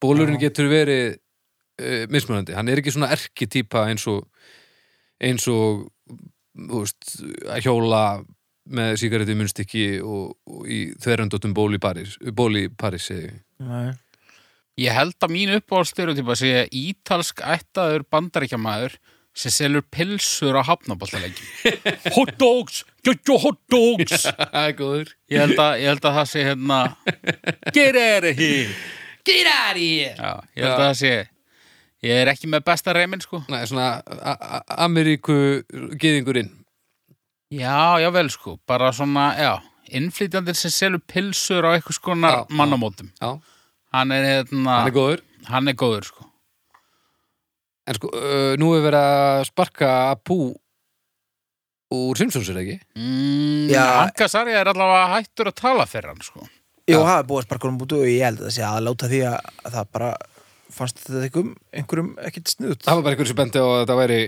S2: bólurinn getur verið uh, mismunandi, hann er ekki svona erkitýpa eins og eins og þú veist, að hjóla með sígarettu í munstykki og, og í þverjandóttum ból í París, ból í París segi. ég.
S1: Nei.
S3: Ég held að mín uppáhaldstereotypa sé ítalsk ættaður bandaríkjamaður sem selur pilsur á hafnaboltalegjum. hot dogs! Get your hot dogs!
S2: Það er góður
S3: Ég held að, ég held að það sé hérna Get out of here! Get out of here! Já, ég held að það sé Ég er ekki með besta reymin, sko.
S2: Nei, svona a- a- Ameríku gyðingurinn
S3: Já, já vel, sko. Bara svona, já, innflytjandir sem selur pilsur á eitthvað skonar
S2: Já, já.
S3: mannamótum.
S2: Já,
S3: Hann er hérna,
S2: hann er góður
S3: hann er góður, sko.
S2: En sko, uh, nú er verið að sparka Apu úr Simpsons er það ekki?
S3: Mm,
S1: Já.
S3: Ankasari er allavega hættur að tala fyrir hann sko.
S1: Jú, það er búið að sparka honum út og ég held að það sé að láta því að að það bara fannst þetta einhverjum, einhverjum ekkert snuðt
S2: það var bara einhverju sem bendi á að þetta væri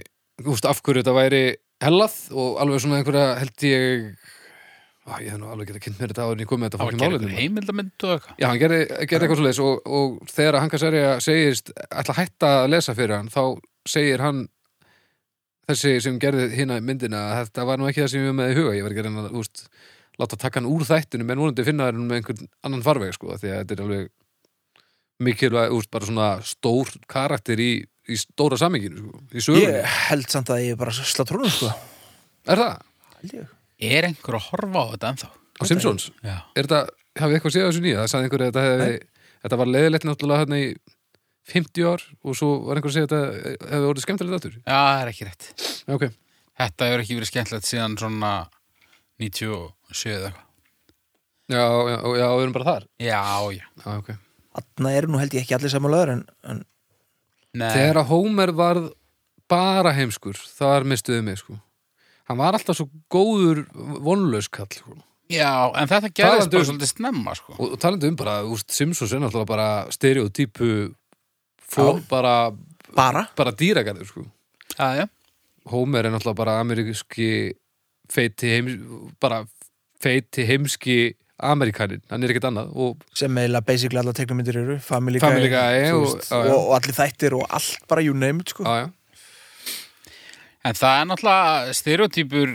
S2: úst, af hverju þetta væri hellað og alveg svona einhverja held ég á, ég hef nú alveg geta kynnt mér þetta áður en ég kom með þetta
S3: Það var að
S2: fólkið
S3: gera einhver
S2: málið
S3: heimildamynd og eitthvað
S2: Já, hann gerði, gerði eitthvað svoleiðis og, og þegar að Hanka Serja segist ætla að hætta að lesa fyrir hann þá segir hann þessi sem gerði hérna myndina að þetta var nú ekki það sem ég var með í huga ég var ekki að reyna að úst, láta taka hann úr þættinum en vonandi finna hann með einhvern annan farveg sko, af því að þetta er alveg mikilvæg, úst, bara svona stór karakter í, í stóra saminginu sko, í sögunni,
S1: Ég held samt að ég bara slá trónum sko
S2: er það?
S1: Held ég
S3: Er einhver að horfa á þetta ennþá?
S2: Á Simpsons?
S3: Já.
S2: Er þetta, hafið eitthvað séð af þessu nýja? Það sagði einhver að þetta hefði, þetta var leiðilegt náttúrulega hérna í 50 ár og svo var einhver að segja að þetta hefði orðið skemmtilegt aftur.
S3: Já, það er ekki rétt
S2: Já, ok.
S3: Þetta hefur ekki verið skemmtilegt síðan svona 97 eða eitthvað
S2: Já, já, já, við erum bara þar.
S3: Já, já
S2: Já, ok.
S1: Þarna eru nú held ég ekki allir samanlegar en, en
S3: Nei,
S2: Þegar að Homer varð bara heimskur, þar mistuðu mig, sko. Hann var alltaf svo góður vonlaus kall, sko.
S3: Já, en þetta
S2: Talandi
S3: gerðist bara
S2: um-
S3: svolítið snemma sko.
S2: Og, og talandi um bara, úst, Simpsons er náttúrulega bara stereotypu fór bara,
S1: bara
S2: bara dýragarður, sko.
S3: Já, já
S2: Homer er náttúrulega bara ameríski feiti heims, bara feiti heimski ameríkanin, hann er ekkert annað og
S1: sem eiginlega basically allar teknumyndir eru Family Guy,
S2: Family Guy
S1: þú
S2: og-
S1: veist,
S2: já, já.
S1: og, og allir þættir og allt bara you name it sko
S2: á, ah, já,
S3: En það er náttúrulega stereotypur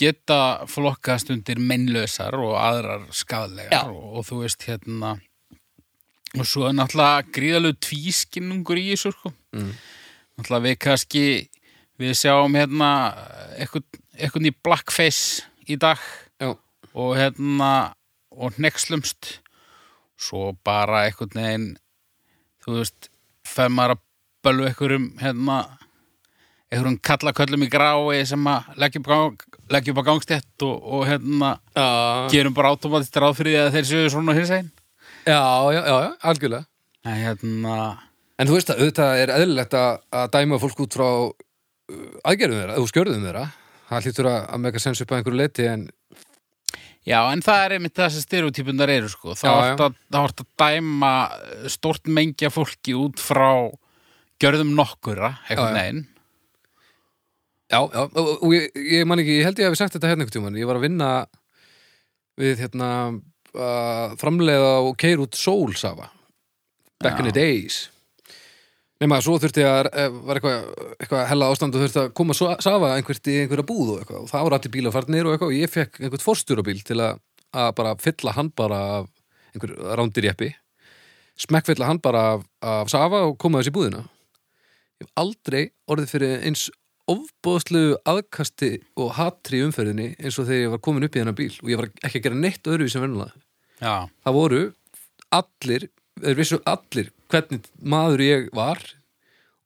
S3: geta flokkast undir mennlausar og aðrar skadlegar og, og þú veist hérna og svo er náttúrulega gríðalegu tvískinnungur í þessu sko. mm. náttúrulega við kannski við sjáum hérna eitthvað, eitthvað í blackface í dag
S2: já,
S3: og hérna og hnekslumst svo bara eitthvað neginn þú veist, fer maður að bölvu einhverjum hérna einhverjum kallaköllum í grái sem að leggja upp, gang, leggja upp á gangstett og, og hérna
S2: já,
S3: gerum bara automatist ráð fyrir því að þeir séu svona hins einn
S2: já, já, já algjörlega
S3: en hérna,
S2: en þú veist að auðvitað er eðlilegt að, að dæma fólk út frá uh, aðgerðum þeirra, þú skjörðum þeirra það hlýtur að, að mega sens upp að einhverju leiti en
S3: já en það er einmitt þessi stereotypundar eru sko þá
S2: Já, já.
S3: hort að, þá ertu að dæma stort mengja fólki út frá gjörðum nokkura,
S2: Já,
S3: einhvern
S2: já.
S3: veginn
S2: Já, já, og, og- og ég, ég man ekki, ég held ég hefði sagt þetta hérna einhvern tímann, ég var að vinna við hérna uh, framleiða og keir út sólsafa back in the days nema að svo þurfti að eh, var eitthvað, eitthvað hella ástand og þurfti að koma svo- safa einhvert í einhverja búð og eitthvað og það voru allir bílar farnir og eitthvað og ég fekk einhvert forstjórabíl til að, að bara fylla hann bara af einhver rándirjeppi smekkfylla hann bara af, af safa og koma þessi í búðina ég hef aldrei orðið fyrir eins ofbóðslu aðkasti og hatri í umferðinni eins og þegar ég var komin upp í þennan bíl og ég var ekki að gera neitt öðruvísi sem vennulega
S3: já,
S2: það voru allir, þeir vissu allir hvernig maður ég var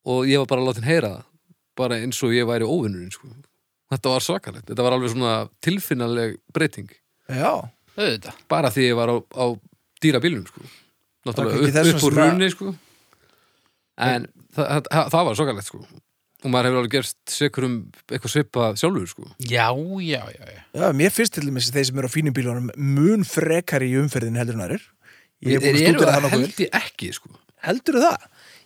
S2: og ég var bara látin heyra það bara eins og ég væri óvinnurinn sko. þetta var svakalegt, þetta var alveg svona tilfinnaleg breyting,
S1: já,
S3: auðvitað
S2: bara því ég var á, á dýra bílum sko.
S1: kannski
S2: náttúrulega
S1: þess
S2: upp, upp úr
S1: vegna-
S2: runni sko. en það, það, það var svakalegt sko. og maður hefur alveg gerst sekur um eitthvað svipa sjálfur sko.
S3: já, já, já, já.
S1: já, mér finnst til dæmis að þeir sem eru á fínum bílunum mun frekar í umferðin heldur en aðrir ég er búin að
S2: Eru
S1: stúdera það
S2: það
S1: nokkuð vel.
S2: held ég ekki sko.
S1: heldur það?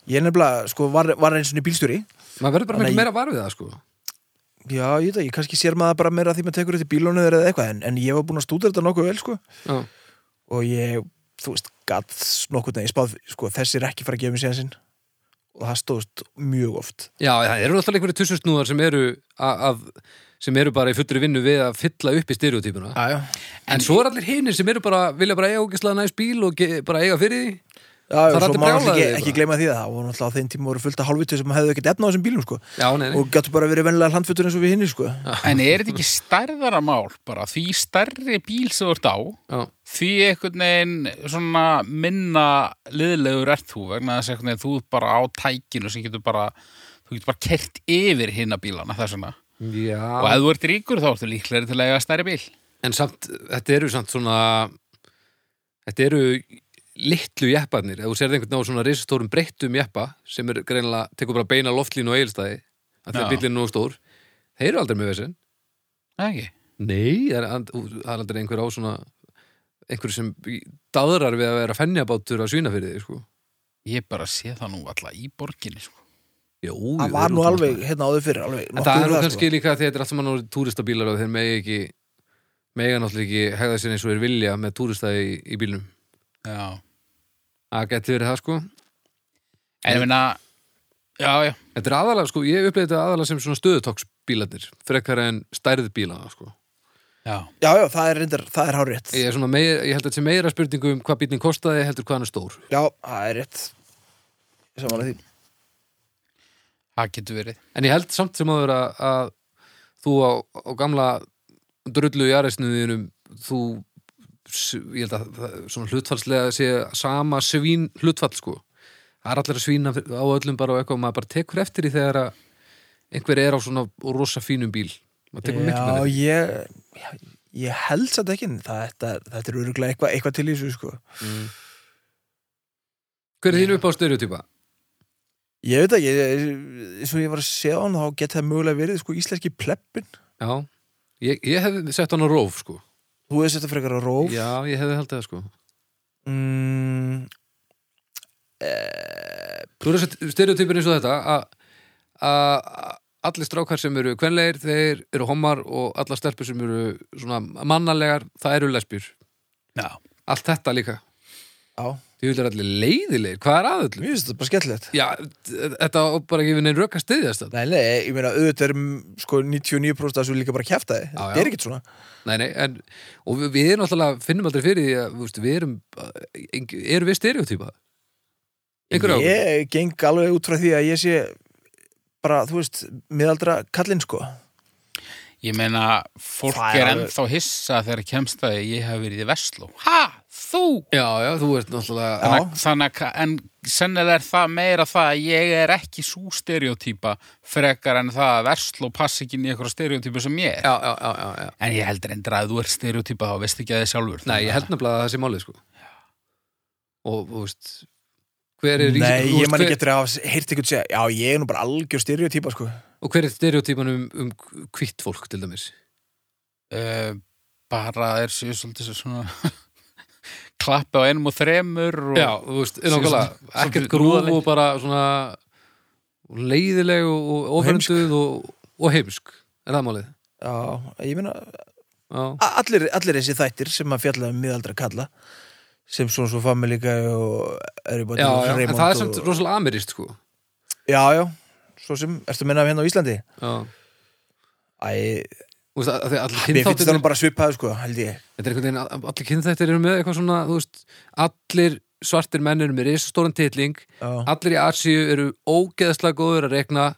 S1: Ég er nefnilega, sko, var, var eins og niður bílstjóri
S2: maður verður bara
S1: Þannig að
S2: miklu
S1: ég-
S2: meira var við það sko.
S1: já, ég veit að ég kannski sér maður bara meira að því maður tekur eftir bílunum eða eitthvað en, en ég var búin að stúdera þetta nokkuð vel, sko
S2: Já.
S1: og ég, þú veist, gatt nokkuð neginn spáð, sko, þessi er ekki fara að gefa mér séðansinn og það stóðst mjög oft
S2: Já, það eru alltaf einhverju tussusnúðar sem eru a- af, sem eru bara í fullri vinnu við að fylla upp í stereotypuna
S1: já, já.
S2: en svo er allir hinir sem eru bara vilja bara eiga ógislega næst bíl og ge, bara eiga fyrir því
S1: Já,
S2: Það
S1: já,
S2: er
S1: svo
S2: allir
S1: má náttúrulega
S2: brjálaðir
S1: ekki, ekki
S2: bara.
S1: gleyma því að það og náttúrulega á þeim tíma voru fullt af hálfvitu sem hefðu ekkert efna á þessum bílum sko
S2: Já, nei, nei.
S1: og gætu bara verið venlega hlandfutur eins og við hinni sko
S3: en er þetta ekki stærðara mál bara því stærri bíl sem þú ert á
S2: Já,
S3: því einhvern veginn svona minna liðlegur ert þú vegna þess einhvern veginn þú ert bara á tækinu sem getur bara þú getur bara kert yfir hinna bílana þess vegna og
S2: Já.
S3: ef þú ert ríkur þá ertu líklegri til að eiga stærri bíl
S2: en samt, þetta eru samt svona þetta eru litlu jepparnir, ef þú serði einhvern á svona risastórum breyttum jeppa sem er greinilega, tekur bara beina loftlínu og eigilstæði að það
S3: Já.
S2: bílinn er nóg stór þeir eru aldrei með vesinn
S3: Það ekki
S2: Nei, það er, það er aldrei einhver á svona einhver sem daðrar við að vera fennjabátur að svína fyrir þig, sko
S3: ég bara sé það nú alltaf í borginni sko.
S2: Jó,
S1: það var nú alveg hérna áður fyrir alveg,
S2: um En það
S1: nokkuð
S2: er nú
S1: um
S2: kannski líka því að þetta er allt saman orðið túristabílar og þeir megi ekki mega náttúrulega ekki hegða sér eins og þeir vilja með túrista í, í bílnum
S3: já
S2: Það geti verið það, sko
S3: en ég meina já, já
S2: Þetta er aðalega, sko, ég upplega þetta aðalega sem svona stöðutóksbílarnir frekar en stærð bílana, sko
S3: já
S1: já, já, það er reyndar, það er hárétt
S2: Ég, er svona meira, ég held að þetta sé meira spurningu um hvað bílinn kostaði heldur hvað hann er stór
S1: já, það er rétt samanlega því
S3: það getur verið
S2: En ég held samt sem áður að, að þú á, á gamla drullu jarðisniðinum þú s- ég held að það- svona hlutfallslega sé sama svín hlutfall sko það er allir að svína fyr- á öllum bara og eitthvað og maður bara tekur eftir í þegar að einhver er á svona rosa fínum bíl maður tekur miklu með
S1: já,
S2: því
S1: ég, já, ég held satt ekki en það, þetta, þetta er öruglega eitthvað eitthva til í þessu sko
S2: Hver er þín upp á stereotypa?
S1: ég veit að, ég, eins og ég var að sjá hann þá geti það mögulega verið sko íslenski pleppin
S2: Já, ég, ég hefði sett hann á róf sko
S1: þú veist þetta frekar að róf
S2: Já, ég hefði haldið það sko
S1: mm, eh,
S2: Þú eru þessi stereotypin eins og þetta að- að allir strákar sem eru kvenleir, þeir eru homar og allar stelpur sem eru svona mannalegar, það eru lesbjur
S3: já
S2: allt þetta líka,
S1: já,
S2: því vil er allir leiðilegir hvað er aðöldlu?
S1: mér finnst þetta bara skemmtilegt
S2: Já, þetta á bara ekki við neinn rök að styðjast það
S1: Nei, nei, ég meina, auðvitað er mm, sko 99% af þessu líka bara kjæftaði
S2: Já, já.
S1: Það er ekkert svona
S2: Nei, nei, en, og við, við erum alltaf finnum aldrei fyrir því að þú veist, við erum eh, eng- erum við stereotypa? Einhver á?
S1: Ég geng alveg út frá því að ég sé bara, þú veist, miðaldra kallinn sko
S3: ég meina fólk
S1: Það er
S3: er
S1: alveg-
S3: ennþá hissa þegar kemst að ég hef verið í Vestló ha, þú
S2: Já, já, þú ert náttúrulega
S1: Já.
S3: Þannig, þannig að, en sennilega er það meira það að ég er ekki svo stereotýpa frekar en það að versl og pass ekki inn í einhverja stereotýpa sem ég er.
S2: Já, já, já, já, já.
S3: En ég heldur endur að þú er stereotýpa þá veist ekki að þið sjálfur.
S2: Nei, ég held nefnilega að það sé málið sko Og, þú veist Hver er
S1: Nei,
S2: þú
S1: ég
S2: veist,
S1: man ekki
S2: hver,
S1: eftir að hafa heyrt eitthvað segja Já, ég er nú bara algjör stereotýpa sko
S2: Og hver er stereotypan um, um kvitt fólk til dæmis
S3: Uh, bara er sér svolítið svona klappi á einum og þremur og
S2: Já, þú veist, er
S3: Sér
S2: nákvæmlega
S3: svolítið-
S2: Ekkert
S3: svolítið
S2: grúf
S3: lúðaleg.
S2: og bara svona leiðileg og, og
S1: Og heimsk.
S2: ofrenduð og, og heimsk Er það málið?
S1: Já, ég meina,
S2: Já,
S1: a- allir, allir þessi þættir sem að fjalla um miðaldra kalla sem svona svo family guy og everybody
S2: já,
S1: loves
S2: já en
S1: Raymond
S2: það er samt
S1: og...
S2: rosalega amirist sko
S1: Já, já, svo sem, ertu að minna af hérna á Íslandi?
S2: Já
S1: Æ,
S2: Þú veist, að- að því allir
S1: mér finnst það
S2: kynþáttir
S1: nú bara svipaðu sko, held ég
S2: Þetta er einhvern veginn, allir kynþættir eru með eitthvað svona, þú veist, allir svartir menn eru með risastóran titling,
S1: Já.
S2: allir í Asíu eru ógeðslega góður að rekna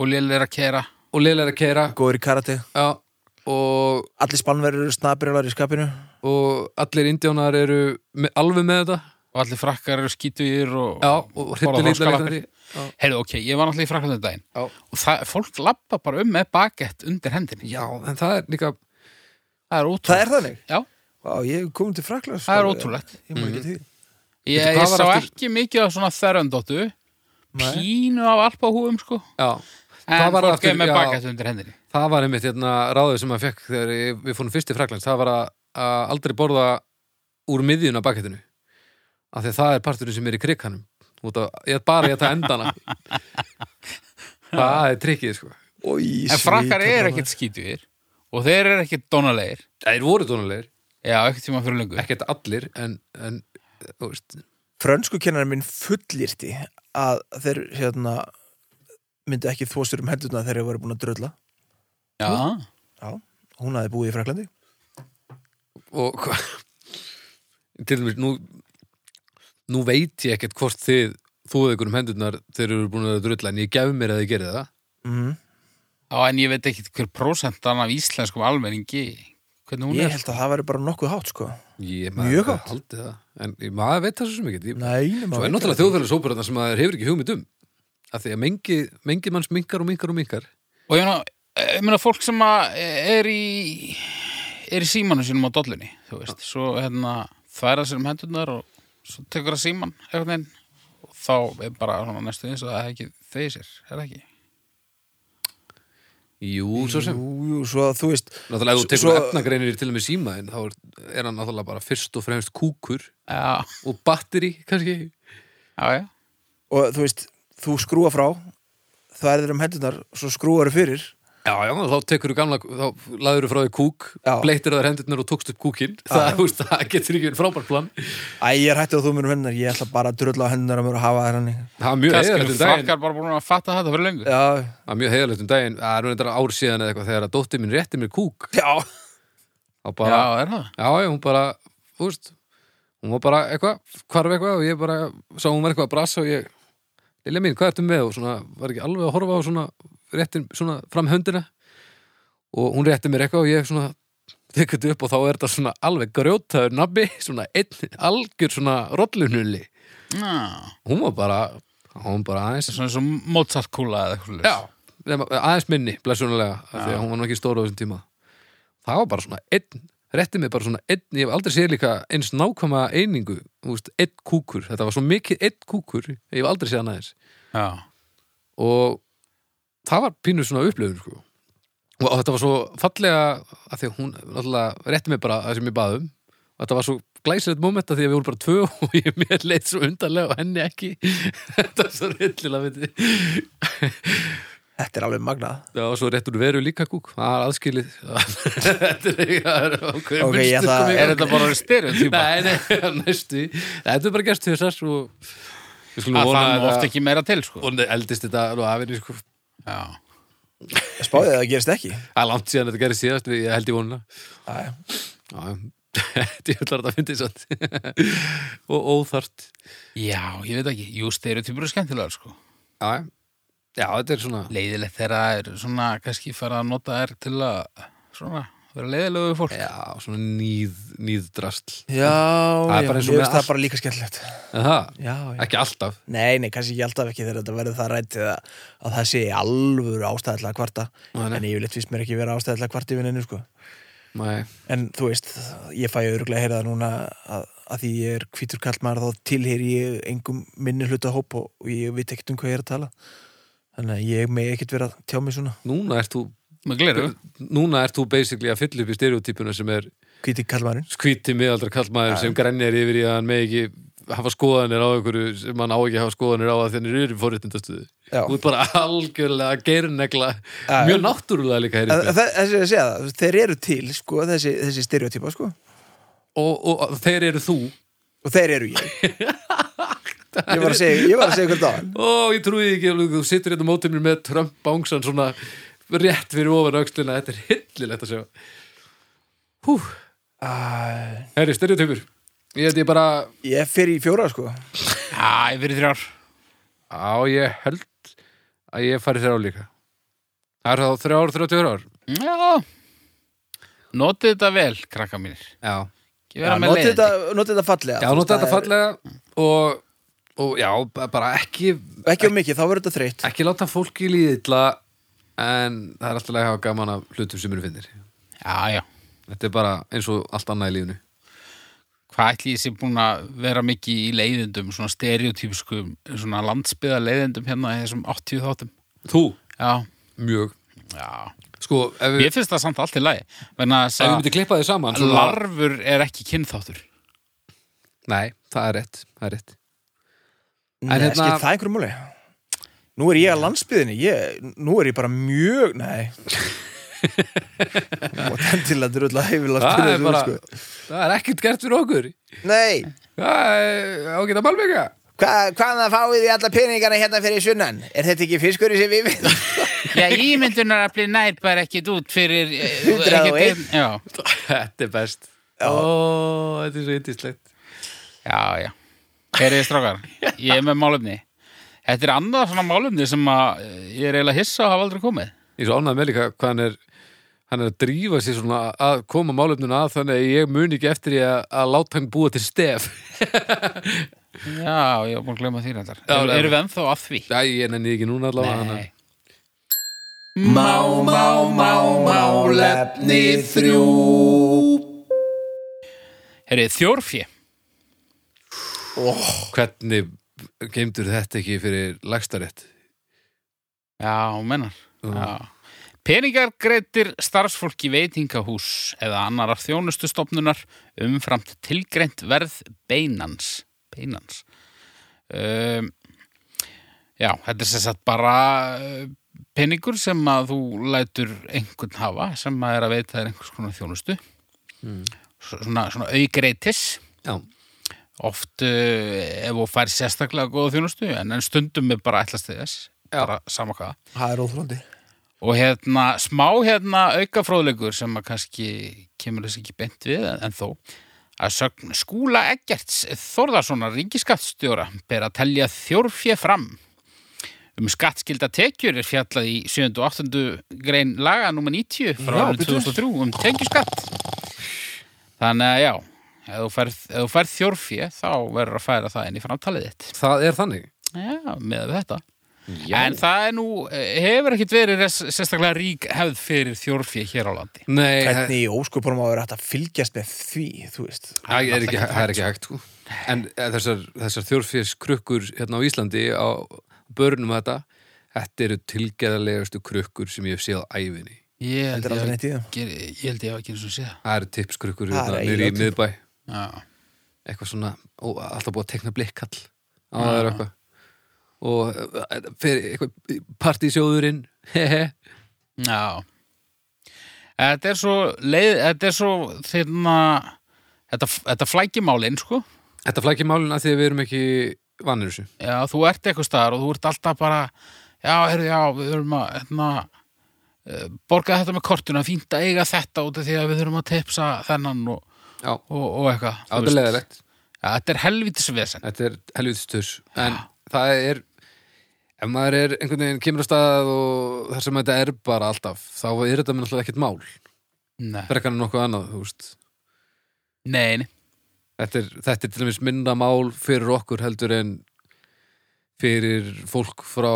S3: og lélir að kera.
S2: og leiðlega að keira
S1: Góður í karate
S2: já, og,
S1: allir spannverður eru snabbrjálar í skapinu
S2: og allir indjónar eru með, alveg með þetta
S3: og allir frakkar eru skítugir og
S2: Já, og
S3: borða
S2: hryllir lítið
S3: þorskalappir.
S2: leitandi
S3: Heyrðu, ok, ég var náttúrulega í Frakland þetta daginn
S2: Já.
S3: og það, fólk lappa bara um með bagett undir hendinni
S2: Já, en það er líka
S3: Það er ótrúlegt
S1: Það er þannig?
S3: Já,
S1: Vá, ég hef komið til Fraklands.
S3: það er ótrúlegt
S1: Ég maður ekki til. því.
S3: Ég,
S2: Veitu, hvað
S3: ég
S2: var
S3: sá
S2: aftur-
S3: ekki mikið af svona þerrandóttu
S1: Nei.
S3: pínu af alpahúum sko
S2: Já,
S3: en
S2: Hvað var
S3: fólk
S2: aftur-
S3: er með
S2: já.
S3: bagett undir hendinni
S2: það var einmitt hérna ráðið sem maður fekk þegar ég- við fórum fyrst í Fraklands það var að, að aldrei borða úr miðjun af bakettinu af því að það er parturinn sem er í krikanum út af, ég bara ég að það endana það er trikkið sko
S1: Oj,
S3: En frakkar
S1: svíkarnar.
S3: eru ekkit skítugir og þeir eru ekkit donalegir
S2: það er voru tónulegir,
S3: Já, ekkert tíma fyrir lengur
S2: ekkert allir en, en þú veist,
S1: Frönsku kennarinn minn fullirti að þeir hérna, myndi ekki þvóstur um hendurna þegar þeir voru búin að drölla.
S3: Já,
S1: Já, hún hafi búið í Fraklandi.
S2: og hva til dæmis nú nú veit ég ekkert hvort þið þú ykkur um hendurnar þeir eru búin að drulla en ég gef mér að þið gerði það
S1: Mm.
S3: Já, en ég veit ekkit hver prósentan af íslenskum almenningi hvernig hún
S1: Ég
S3: er
S1: held að það væri bara nokkuð hátt, sko.
S2: Ég,
S1: Mjög
S2: maður,
S1: gott.
S2: haldi það. En ég- maður veit það svo sem ekki
S1: Nei, nema.
S2: Svo er náttúrulega þjóðfélagsóperarna sem maður hefur ekki hugmynd um að því að mengi, mengi manns minkar og minkar og minkar
S3: Og ég meina, eh, ég meina fólk sem að eh, er í er í símanu sínum á dollunni þú veist, svo hérna þværa sér um hendurnar og svo tekur það síman einhvern veginn og þá er bara svona næstu eins og það er ekki þeir sér, er það ekki?
S2: Jú, svo sem
S1: Jú, jú, svo að þú veist.
S2: Náttúrulega ef þú tekur
S1: Svo-
S2: efnagreinir til og með síma en þá er- er hann náttúrulega bara fyrst og fremst kúkur
S3: Já,
S2: og batteri, kannski
S3: já, já
S1: Og þú veist, þú skrúa frá, það er þeir um hendurnar, svo skrúar þau fyrir.
S2: Já, já, þá tekur þú gamla, þá laður þú frá því kúk
S1: Já.
S2: bleittir þær hendurnar og tókst upp kúkin það, þú veist, það getur ekki verið frábært plan
S1: Æ, ég er hættið á þú mér um hendunar, ég ætla bara að drölla á hendunar að mér og hafa þær hannig.
S2: Það er mjög
S3: Kannski
S2: heiðarlegt um daginn
S3: frakkar bara búin að fatta þetta fyrir löngu
S1: Já,
S2: Það er mjög heiðalegt um daginn, það er reyndar ár síðan eða eitthvað þegar að dóttir mín rétti mér kúk
S1: já.
S2: þá
S3: Já,
S2: bara,
S3: er það?
S2: já, já, hún bara þú veist, hún var bara eitthvað hvarf eitthvað og ég bara, sá hún var eitthvað að brasa og ég, Lilja mín, hvað ertu með og svona, var ekki alveg að horfa á svona réttin, svona fram höndina og hún rétti mér eitthvað og ég svona tekur þetta upp og þá er þetta svona alveg grjótaður nabbi, svona einn algjör svona rollunulli
S3: Já,
S2: hún var bara, hún var bara aðeins
S3: svona eins og Mozart kúla eða eitthvað svoleiðis.
S2: Já, nema, aðeins minni, blessunulega af því að hún var nú ekki stóra á þessum tíma það var bara svona einn, rétti mig bara svona einn, ég hef aldrei séð líka eins nákvæma einingu, þú veist, einn kúkur þetta var svo mikið einn kúkur, ég hef aldrei séð hann aðeins
S3: Já,
S2: og það var pínu svona upplifun sko. og þetta var svo fallega af því að hún alltaf rétti mig bara það sem ég baðum og þetta var svo glæsilegt moment af því að við vorum bara tvö og ég mér leitt svo undarlega og henni ekki þetta var svo rillilega veitir
S1: Þetta er alveg magnað.
S2: Já, og svo réttur veru líka kúk Það er aðskilið Þetta er það er ákveðið
S1: Ok, ég ætla-
S2: munstur komið í
S3: Er
S2: gang.
S3: þetta bara stereotypa?
S2: Nei, nei, næstu í. Þetta er bara gerst til þessar og Við skulum
S3: Að
S2: vona
S3: það er
S2: að
S3: oft ekki meira til, sko
S2: vonandi eldist þetta alveg afinni sko
S3: Já,
S1: Spáðið að það gerist ekki.
S2: Það er langt síðan þetta gerist síðast við- Ég held ég vonuna
S1: Æ,
S2: Já, Þetta er allar að finna þess að Og óþart
S3: Já ég veit ekki, jú, stereotypur er skemmtilega, sko
S2: Já, já, þetta er svona
S3: leiðilegt þegar það er svona kannski fara að nota þær til að svona vera leiðilegu við fólk
S2: Já, svona nýð, nýðdrasl
S1: Já,
S2: Það er
S1: já, mér
S2: bara eins og með
S1: finnst það
S2: allt.
S1: bara líka skemmtilegt
S2: En það,
S1: Já, já
S2: ekki alltaf
S1: Nei, nei, kannski ekki alltaf ekki þegar þetta verður það rætt eða að það sé í alvöru ástæðilega kvarta
S2: Nei, nei.
S1: en ég vil eitthvað mér ekki vera ástæðilega kvarta í vinninu sko.
S2: Nei,
S1: en þú veist, ég fæ öruglega að heyra það núna að, að því ég er hvítur kallmar þá tilheyri ég engum minni hluta hóp og, og ég veit ekkert um hvað ég er að tala þannig að ég megi ekkert vera að tjá mig svona
S2: núna ert þú
S3: með gleru
S2: núna ert þú basically að fylla upp í stereotypuna sem er
S1: hvítur kallmarinn
S2: skvíti miðaldra kallmaður sem grænjar yfir í að hann með ekki hafa skoðanir á einhverju sem hann á ekki að hafa skoðanir á að þennir eru forréttindastuðu
S1: Já.
S2: þú ert bara algjörlega geirnegla
S1: Já, já.
S2: mjög náttúrulega líka hér í
S1: Þa-
S2: spil.
S1: það- Þessi að segja það, þeir eru til sko, þessi, þessi stereotypa sko.
S2: og, og þeir eru þú
S1: og þeir eru ég ég var að segja, ég var að segja hvernig á hann
S2: ó ég trúi ekki alveg þú sittur hérna á mótið mér með Trump bángsan svona rétt fyrir ofan aukslina þetta er hyllilegt að sjá hú,
S1: Æ,
S2: herri stereotypur ég held ég bara
S1: Ég fer í fjóra sko
S3: Já, ég verið þrjár
S2: á ég held að ég fari þrjá líka það er þá þrjár, þrjáttur ár
S3: Já Notið þetta vel, krakka mínir
S2: já
S3: Ekki
S1: Já,
S3: vera með
S1: Notið
S3: leiðindi
S1: þetta, notið þetta fallega
S2: Já,
S1: Þú veist,
S2: nota þetta
S1: það er-
S2: fallega og, og já, bara ekki
S1: Ekki á mikið, þá verður þetta þreytt
S2: ekki láta fólki líða illa en það er alltaf að hafa gaman af hlutum sem eru finnir
S3: Já, já.
S2: þetta er bara eins og allt annað í lífinu
S3: Hvað ætli ég sé búin að vera mikið í leiðindum, svona stereotypiskum, svona landsbyða leiðindum hérna í þessum 80 þáttum?
S2: þú,
S3: Já,
S2: mjög
S3: já.
S2: sko, ef við,
S3: Mér finnst það samt allt í lagi, menn að
S2: ef við myndum klippa þið saman svona-
S3: larfur er ekki kynþáttur.
S2: nei, það er rétt, það er rétt.
S1: Nei,
S2: En hérna-
S1: skil það einhverjum múli Nú er ég að landsbyðinni ég, Nú er ég bara mjög, nei Og þenn til að drulla yfir
S2: það er
S1: landsbyðinni
S2: bara
S1: sko.
S2: það er ekkert gert fyrir okkur
S1: Nei,
S2: það er ágæta malmega
S1: hva, hvaðan að fáið í alla peningana hérna fyrir sunnan? Er þetta ekki fiskur í sem við við?
S3: Já, ímyndunar að bli nær bara ekkit út fyrir... eh,
S1: 101.
S3: ekkit- Já,
S2: þetta er best ó, þetta er svo yndislegt
S3: já, já. Heriði strákar, ég er með málefni. Þetta er annað svona málefni sem að eh, ég er eiginlega hissa að hafa aldrei komið.
S2: ég er svo ánægð með líka hvað hann er hann er að drífa sér svona að koma málefnuna að þannig að ég mun ekki eftir ég að, að láta hann búa til stef
S3: Já, ég var búin að glemma því reyndar.
S2: Já,
S3: Er,
S2: já.
S3: erum við ennþá að því?
S2: Æ, ég nenni ekki núna allavega hann
S3: Nei. Má, má, má, málefni þrjú Herri, þjórfji
S2: Hvernig geimdur þetta ekki fyrir lagstarétt?
S3: Já, hún mennar Já. Peningar greittir starfsfólki veitingahús eða annarar þjónustustofnunar umframt tilgreint verð beinans. Beinans. Um, já, þetta er sem sagt bara uh, peningur sem að þú lætur einhvern hafa sem að er að veita þér einhvers konar þjónustu. S- Svona, svona aukreitis.
S2: Já,
S3: Oft uh, ef þú fær sérstaklega góða þjónustu en, en stundum er bara ætlast til þess.
S2: Já.
S3: Bara sama hvaða
S1: Það er óþröndi
S3: og hérna smá hérna aukafróðleikur sem að kannski kemur þess ekki beint við en, en þó að sögn skúla Eggerts Þórðarssonar ríkiskattstjóra ber að telja þjórfje fram um skattskilda tekjur er fjallað í 7. og 8. grein laga nr. 90 frá
S1: Já,
S3: árið
S1: bíddu.
S3: 2003 um tekjuskatt þannig að já ef þú færð, ef þú færð þjórfje þá verður að færa það inn í framtalið þitt
S2: það er þannig
S3: já, með þetta En það er nú, eh, hefur ekkit verið res- sérstaklega rík hefð fyrir þjórfið hér á landi.
S2: Nei, það
S1: Hvernig í óskupunum á að vera hægt að fylgjast með því, þú veist
S2: það er ekki, það er ekki hægt sko. En eh, þessar, þessar þjórfiskrukkur hérna á Íslandi á börnum þetta Þetta eru tilgeðarlegustu krukkur sem ég hef séð á ævinni
S3: Ég
S1: Þetta er
S3: held ég
S1: aldrei
S3: hafi
S1: neitt í það.
S3: ekki- ég held ég hafa ekki eins og séð.
S2: Það eru tipskrukkur
S1: Það
S2: hérna
S1: er
S2: nýri í
S1: eiginlega
S2: miðbæ
S3: Já.
S2: Eitthvað svona, ó, alltaf búið að tekna blikkall á það er eitthvað og eh, fyrir eitthvað partísjóðurinn hehe
S3: Já. Þetta er svo leið, þetta er svo þeirna, þetta, þetta flækimálin, sko.
S2: Þetta flækir málun að því að við erum ekki vannir þessu.
S3: Já, þú ert eitthvað staðar og þú ert alltaf bara, já, heyrðu, já, við þurfum að, hérna, eh, borga þetta með kortuna, fínt að eiga þetta út af því að við þurfum að tipsa þennan og,
S2: Já,
S3: og, og eitthvað. þú veist.
S2: ábyrðilegilegt.
S3: Já, Þetta er helvítis vesen.
S2: Þetta er helvitistur. En það er, ef maður er einhvern veginn kemur á stað og þar sem þetta er bara alltaf, þá er þetta mér alltaf ekkert mál.
S3: Nei,
S2: Frekar en nokkuð annað, þú veist.
S3: nei, nei.
S2: Þetta er, þetta er til dæmis minna mál fyrir okkur heldur en fyrir fólk frá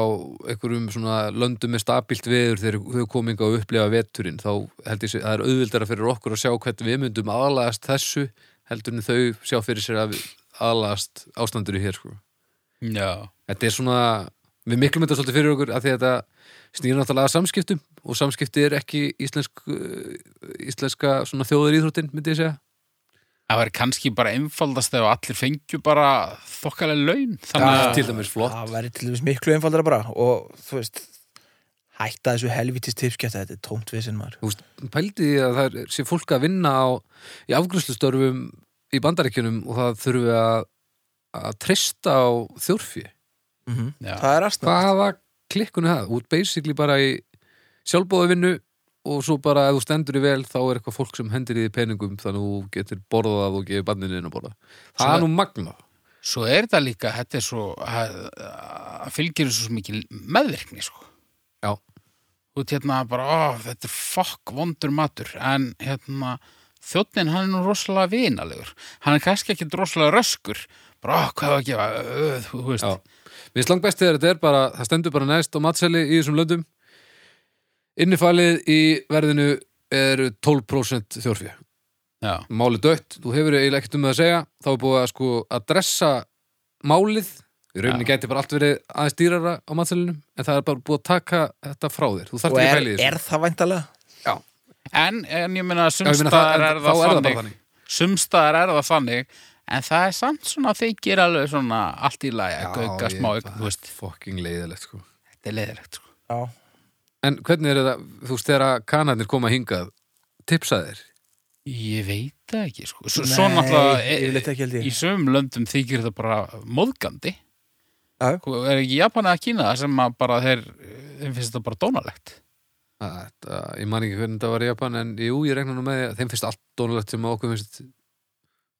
S2: einhverjum svona löndum með stabilt veður þegar þau kominga og upplifa veturinn þá held ég að það er auðvildara fyrir okkur að sjá hvernig við myndum aðlagast þessu heldur en þau sjá fyrir sér að við aðlagast ástandur í hér sko.
S3: Já.
S2: Þetta er svona, við miklum þetta svolítið fyrir okkur af því að þetta snýr náttúrulega að samskiptum og samskipti er ekki íslensk, eh, íslenska svona þjóður íþróttin myndi ég segja.
S3: Það væri kannski bara einfaldast ef allir fengju bara þokkalega laun. Þannig
S2: Það er
S3: að,
S2: til dæmis flott.
S1: Það væri til dæmis miklu einfaldara bara og þú veist hætta þessu helvitis tipskjæta, þetta er tómt vesen maður
S2: Þú veist, pældi því að það er- sé fólk að vinna á, í afgrúslustörfum í bandaríkjunum og það þurfi að, að treysta á þjórfi.
S3: Já.
S1: Mhm. Það er astna
S2: Hvað hafa klikkunni það? Út basically bara í sjálfbóðavinnu og svo bara ef þú stendur í vel þá er eitthvað fólk sem hendir í því peningum þannig að þú getur borðað og gefið banninu inn að borða. Það er nú magna.
S3: svo er þetta líka, þetta er svo, að, að fylgir þessu svo mikil meðvirkni, sko.
S2: Já.
S3: Þú ert hérna bara, ó, þetta er fokk vondur matur, en hérna, þjóttin hann er nú rosalega vinalegur. Hann er kannski ekki rosalega röskur, bara, "Ah, hvað var að gefa, uh, þú veist
S2: Já. Mér slang best þegar þetta er bara, það stendur bara næst á matseli í þessum löndum Innifalið í verðinu er 12% þjórfjö
S3: Já.
S2: Máli dött, þú hefur eiginlega ekkert um það að segja þá er búið að sko að dressa málið í rauninni gæti bara allt verið aðeins dýrara á matselinu en það er bara búið að taka þetta frá þér þú
S1: Og
S2: þarft ekki að
S1: er,
S2: pæli því
S1: er það væntalega?
S3: En, en ég meina,
S2: Já, ég meina, það- en
S3: sumstaðar er
S2: þá er
S3: það
S2: það bara
S3: þannig Sumstaðar er það þannig En það er samt svona, þeir gera alveg svona allt í lagi að gauka smá auk, þú veist,
S2: Fucking leiðilegt sko
S3: þetta er leiðilegt sko.
S1: Já.
S2: En hvernig er það, þú veist, þegar kanarnir koma hingað tipsa þér
S3: Ég veit það ekki, sko Svo,
S1: Nei,
S3: svo náttúrulega, e-
S1: yfirleitt ekki held ég.
S3: í sömum löndum þykir þetta bara móðgandi
S1: Já.
S3: Sko, Er ekki Japan eða Kína sem að bara þeir, þeim finnst þetta bara dónalegt
S2: Þetta, ég man ekki hvernig það var í Japan en jú, ég regna nú með því að þeim finnst allt dónulegt sem að okkur finnst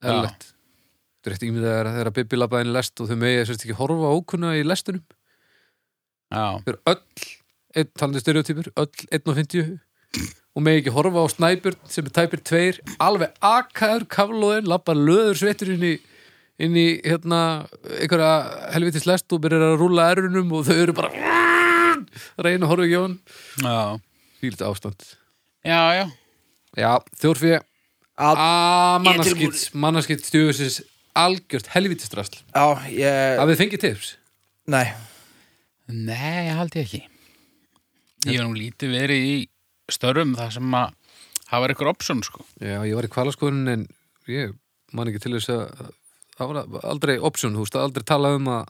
S2: eðlilegt. Þetta er eitt ímyndað er að þeirra Bibi labbaði inn í lest og þau megi sérst ekki horfa á okkurna í lestunum
S3: Já,
S2: þau eru öll, einn talandi stereotypur öll 1.50 og megi ekki horfa á snæbjörn sem er tæpir tveir alveg akaður kaflóðin labbar löður sveittur inn í inn í hérna einhverja helvitis lest og byrjar að rúla erunum og þau eru bara reyna að horfa ekki á hann
S3: já,
S2: fílt ástand
S3: já, já.
S2: Já, þjórfið
S1: Að,
S2: Mannaskitt, mannaskitt stjóðsins algjört helvitistrasl
S1: á, ég,
S2: að við fengið tips
S1: nei,
S3: Nei, ég haldi ekki Ég hef nú lítið verið í störfum það sem að hafa eitthvað option sko
S2: Já, ég var í kvalaskoðun en ég man ekki til þess að það var aldrei option, þú veist, það aldrei talað um að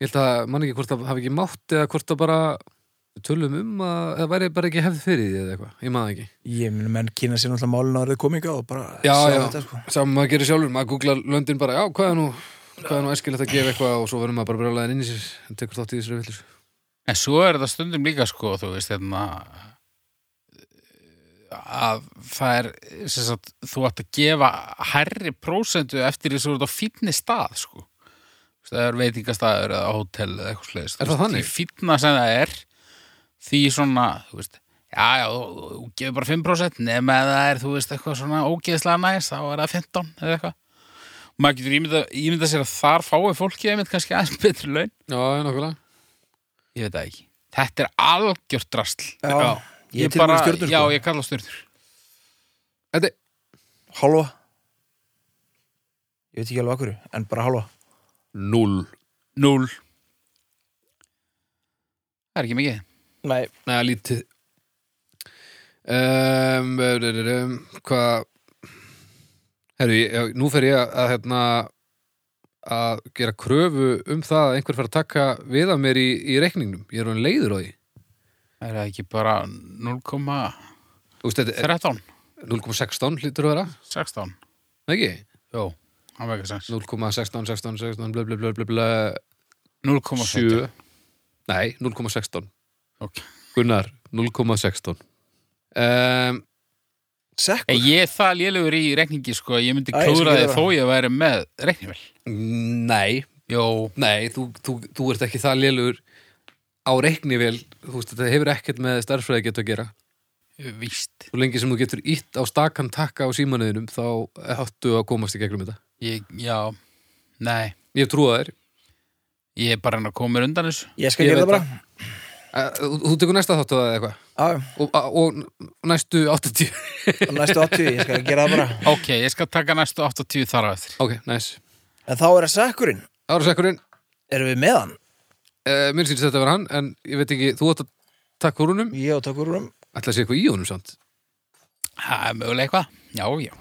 S2: ég held að man ekki hvort það hafi ekki mátt eða hvort það bara við tölum um að það væri bara ekki hefð fyrir því eða eitthvað, ég maður ekki
S1: ég minn menn kynna sér náttúrulega málun árið kominga og bara
S2: Já,
S1: sjá
S2: já,
S1: þetta, sko.
S2: saman maður gerir sjálfur maður googlar löndin bara, já, hvað er nú hvað er nú æskilegt að gefa eitthvað og svo verðum maður bara brjólaðin inn í sér en tekur þátt í þessari villus
S3: En svo er það stundum líka sko, þú veist, hérna að það er sem sagt, þú ætti að gefa herri prósentu eftir því svo er þetta fínni stað sko. Þú veist, það er veitingastæður eða hótel eða eitthvað slegist
S2: Er það þannig?
S3: Því fínna sem það er því svona, þú veist já, já, þú, þú, þú gefur bara 5% nema að það er, þú veist, eitthvað svona ógeðslega næs þá er það 15 eða eitthvað og maður getur ímynda, ímynda sér að þar fái fólki einmitt kannski aðeins betri laun
S2: Já, já, nokkulega
S3: Ég veit það ekki. Þetta er algjört drasl.
S1: Já. Ég er til með stjörnur, sko.
S3: Já, ég kalla stjörnur.
S2: Þetta,
S1: Hálfa Ég veit ekki alveg akkur, en bara hálfa
S2: 0
S3: Núl. Það er ekki mikið.
S1: Nei,
S2: Nei, lítið um, um, um, um, Hvað Herru, ég- já, nú fer ég að, að hérna að gera kröfu um það að einhver fara að taka við að mér í, í reikningnum ég er hann leiður á því
S3: Það er það ekki bara 0,13,
S2: Þú veist, þetta er 0,16 lítur að vera,
S3: 16.
S2: Nei, ekki?
S3: Jó, það var ekki sens.
S2: 0,16, 16, 16, blö, blö, blö, blö, blö
S3: 0,7.
S2: 7 Nei, 0,16
S3: Ok.
S2: Gunnar, 0,16 um,
S1: sekkur
S3: En Ég er það lélugur í rekningi, sko. Ég myndi
S1: Æ, ég skal
S3: klúra
S1: gera
S3: þig
S1: það.
S3: þó ég væri með rekningvel.
S2: Nei,
S3: Jó.
S2: Nei, þú, þú, þú ert ekki það lélugur á reiknivél, þú veist, þetta hefur ekkert með starffræði geta að gera.
S3: Víst.
S2: Svo lengi sem þú getur ítt á stakan takka á símanuðinum, þá hattu að komast í gegnum þetta.
S3: Ég, já. Nei.
S2: Ég hef trúið að þér.
S3: Ég er bara hann að koma mér undan þessu.
S1: Ég skal
S2: Ég
S1: gera
S2: veit
S1: það bara
S2: Æ, Eh, Þú, þú tekur næsta þáttu að eitthvað
S1: Já,
S2: og, a- og næstu 80.
S1: á næstu 80, ég skal gera það bara
S3: Ok, ég skal taka næstu 80 þar á eftir.
S2: ok, næs.
S1: En þá er það sekkurinn,
S2: Árasækurinn,
S1: erum við með hann?
S2: uh, mér syns þetta að vera hann, en ég veit ekki, þú átt að takka úr húnum.
S1: Ég og takkur um
S2: Ætla að sé eitthvað í húnum samt.
S3: Það er mögulega eitthvað. Já, já.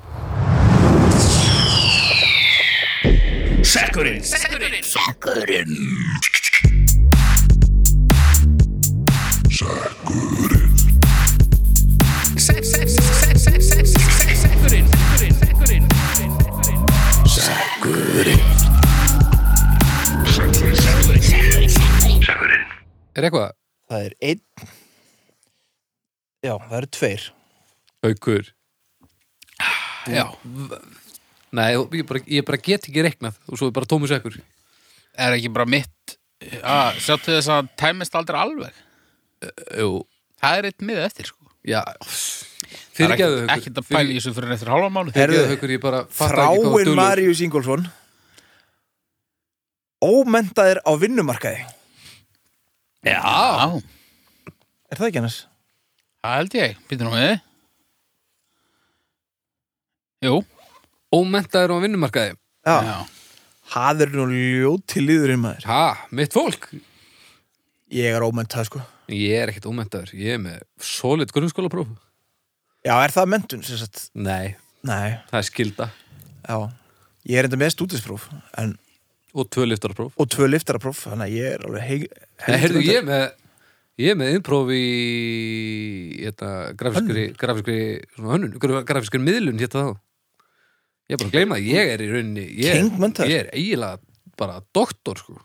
S2: Er eitthvað?
S1: Það er einn Já, það eru tveir
S2: Haukur. Ah,
S3: Já.
S2: Nei, ég bara, ég bara get ekki reiknað og svo er bara tómu sækur.
S3: er ekki bara mitt að sjá til þess að tæmist aldrei alveg
S2: Jú,
S3: það er eitt mið eftir sko
S2: Já,
S3: Það er
S2: fyrirgeðu
S3: ekkert- ekkert að pæla í þessu fyrir eftir hálfa mánu
S1: Herðu,
S2: Haukur, ég bara fatta ekki hvað þú
S1: Þráinn
S2: duglegur.
S1: Marius Ingolfsson Ómentaðir á vinnumarkaði
S3: Já,
S1: Er það ekki annars?
S3: það held ég Býtum nú við Jú,
S2: Ómentaður á vinnumarkaði
S1: Já,
S3: já
S1: það er nú ljót til líðurinn maður
S2: Ha, mitt fólk
S1: Ég er ómentað sko
S2: Ég er ekkert ómentaður, ég er með solid grunnskólapróf
S1: Já, er það mentun sem sagt?
S2: Nei,
S1: Nei,
S2: það er skilda
S1: já Ég er enda með stúdispróf en,
S2: og tvö liftarapróf
S1: og tvö liftarapróf þannig að ég er alveg heig,
S2: Nei, heyrðu,
S1: undir-
S2: ég er með ég er með innpróf í hérna, grafiskri, grafiskri svona hönnun, gra- grafiskri miðlun hérna þá ég er bara að gleyma, því, ég er í rauninni ég, er-
S1: Kingmentaður.
S2: ég er eiginlega bara doktor sko.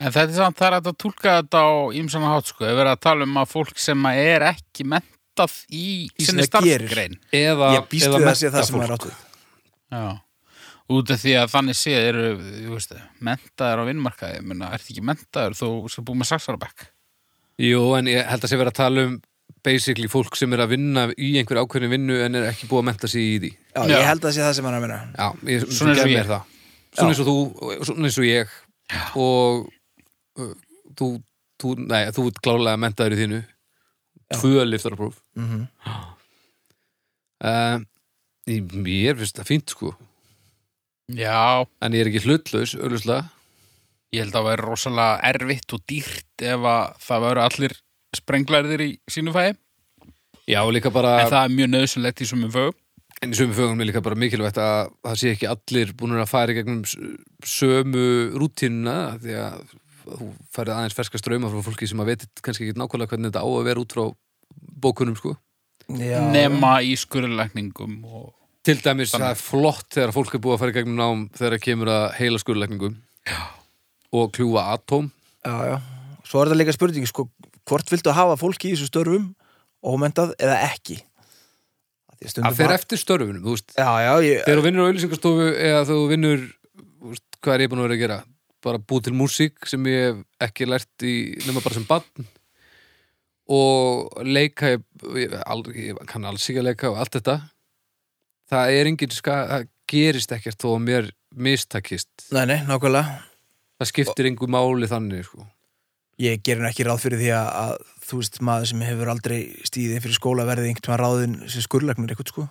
S3: En þetta er samt, það er hægt að túlka þetta á ýmsan hátt, sko, ef við erum að tala um að fólk sem að er ekki mentað í,
S1: Í
S3: sinni
S1: sem það gerir.
S3: starfgrein.
S2: eða,
S1: Ég býst
S2: eða
S1: við að sé það sem
S2: menntafólk.
S1: er
S2: sko.
S1: áttuð
S3: Já. Út af því að þannig séð eru, þú veist, mentaðir á vinnmarkaði, menna, ert ekki mentaður þó sem búið með saxarabæk.
S2: Jú, en ég held að sé vera að tala um basically fólk sem er að vinna í einhverju ákveðinu vinnu en er ekki búið að menta sig í því
S1: Já,
S3: Já.
S1: ég held að sé það sem hann er að minna
S2: Já, ég,
S3: Svona eins og
S2: gef
S3: ég.
S2: mér það. Svona eins og þú, svona eins og ég og uh, þú, þú, nei, þú ert klálega mentaður í þínu tvö liftarapróf
S1: mm
S2: uh, ég, ég finnst það fínt sko
S3: Já,
S2: en ég er ekki hlutlaus, ölluslega
S3: ég held að það væri rosalega erfitt og dýrt ef að það væru allir sprenglarðir í sínu fæði.
S2: Já, og líka bara,
S3: En það er mjög nöðsynlegt í sumum fögum.
S2: en í sömu fögum er líka bara mikilvægt að það sé ekki allir búin að fara í gegnum s- sömu rútínuna því að þú færið aðeins ferska ströma frá fólki sem að veitir kannski ekki nákvæmlega hvernig þetta á að vera út frá bókunum sko
S1: Já,
S3: Nema í skurðlækningum og...
S2: Til dæmis, það er flott þegar fólk er búið að fara í gegnum nám þegar kemur að heila skurðlegningum og kljúfa atóm
S1: já, já Svo er það líka spurning sko, hvort viltu hafa fólki í þessu störfum ómentað eða ekki Af því að stundum
S2: að fer
S1: ha-
S2: eftir störfunum, þú veist
S1: Já, já, ég,
S2: þegar þú vinnur á auðlýsingastofu eða þú vinnur þú veist, hvað er ég búin að vera að gera bara búið til músík sem ég hef ekki lært í nema bara sem bann og leika ég, ég, al- ég kann alls ekki að leika og allt þetta það er engin ska, það gerist ekkert þó að mér mistakist
S1: nei, nei, nákvæmlega
S2: það skiptir engu máli þannig sko.
S1: Ég gerir nú ekki ráð fyrir því að, að þú veist, maður sem hefur aldrei stíðið fyrir skóla verði einhvern veginn ráðin sem skurðlagnir eitthvað, sko.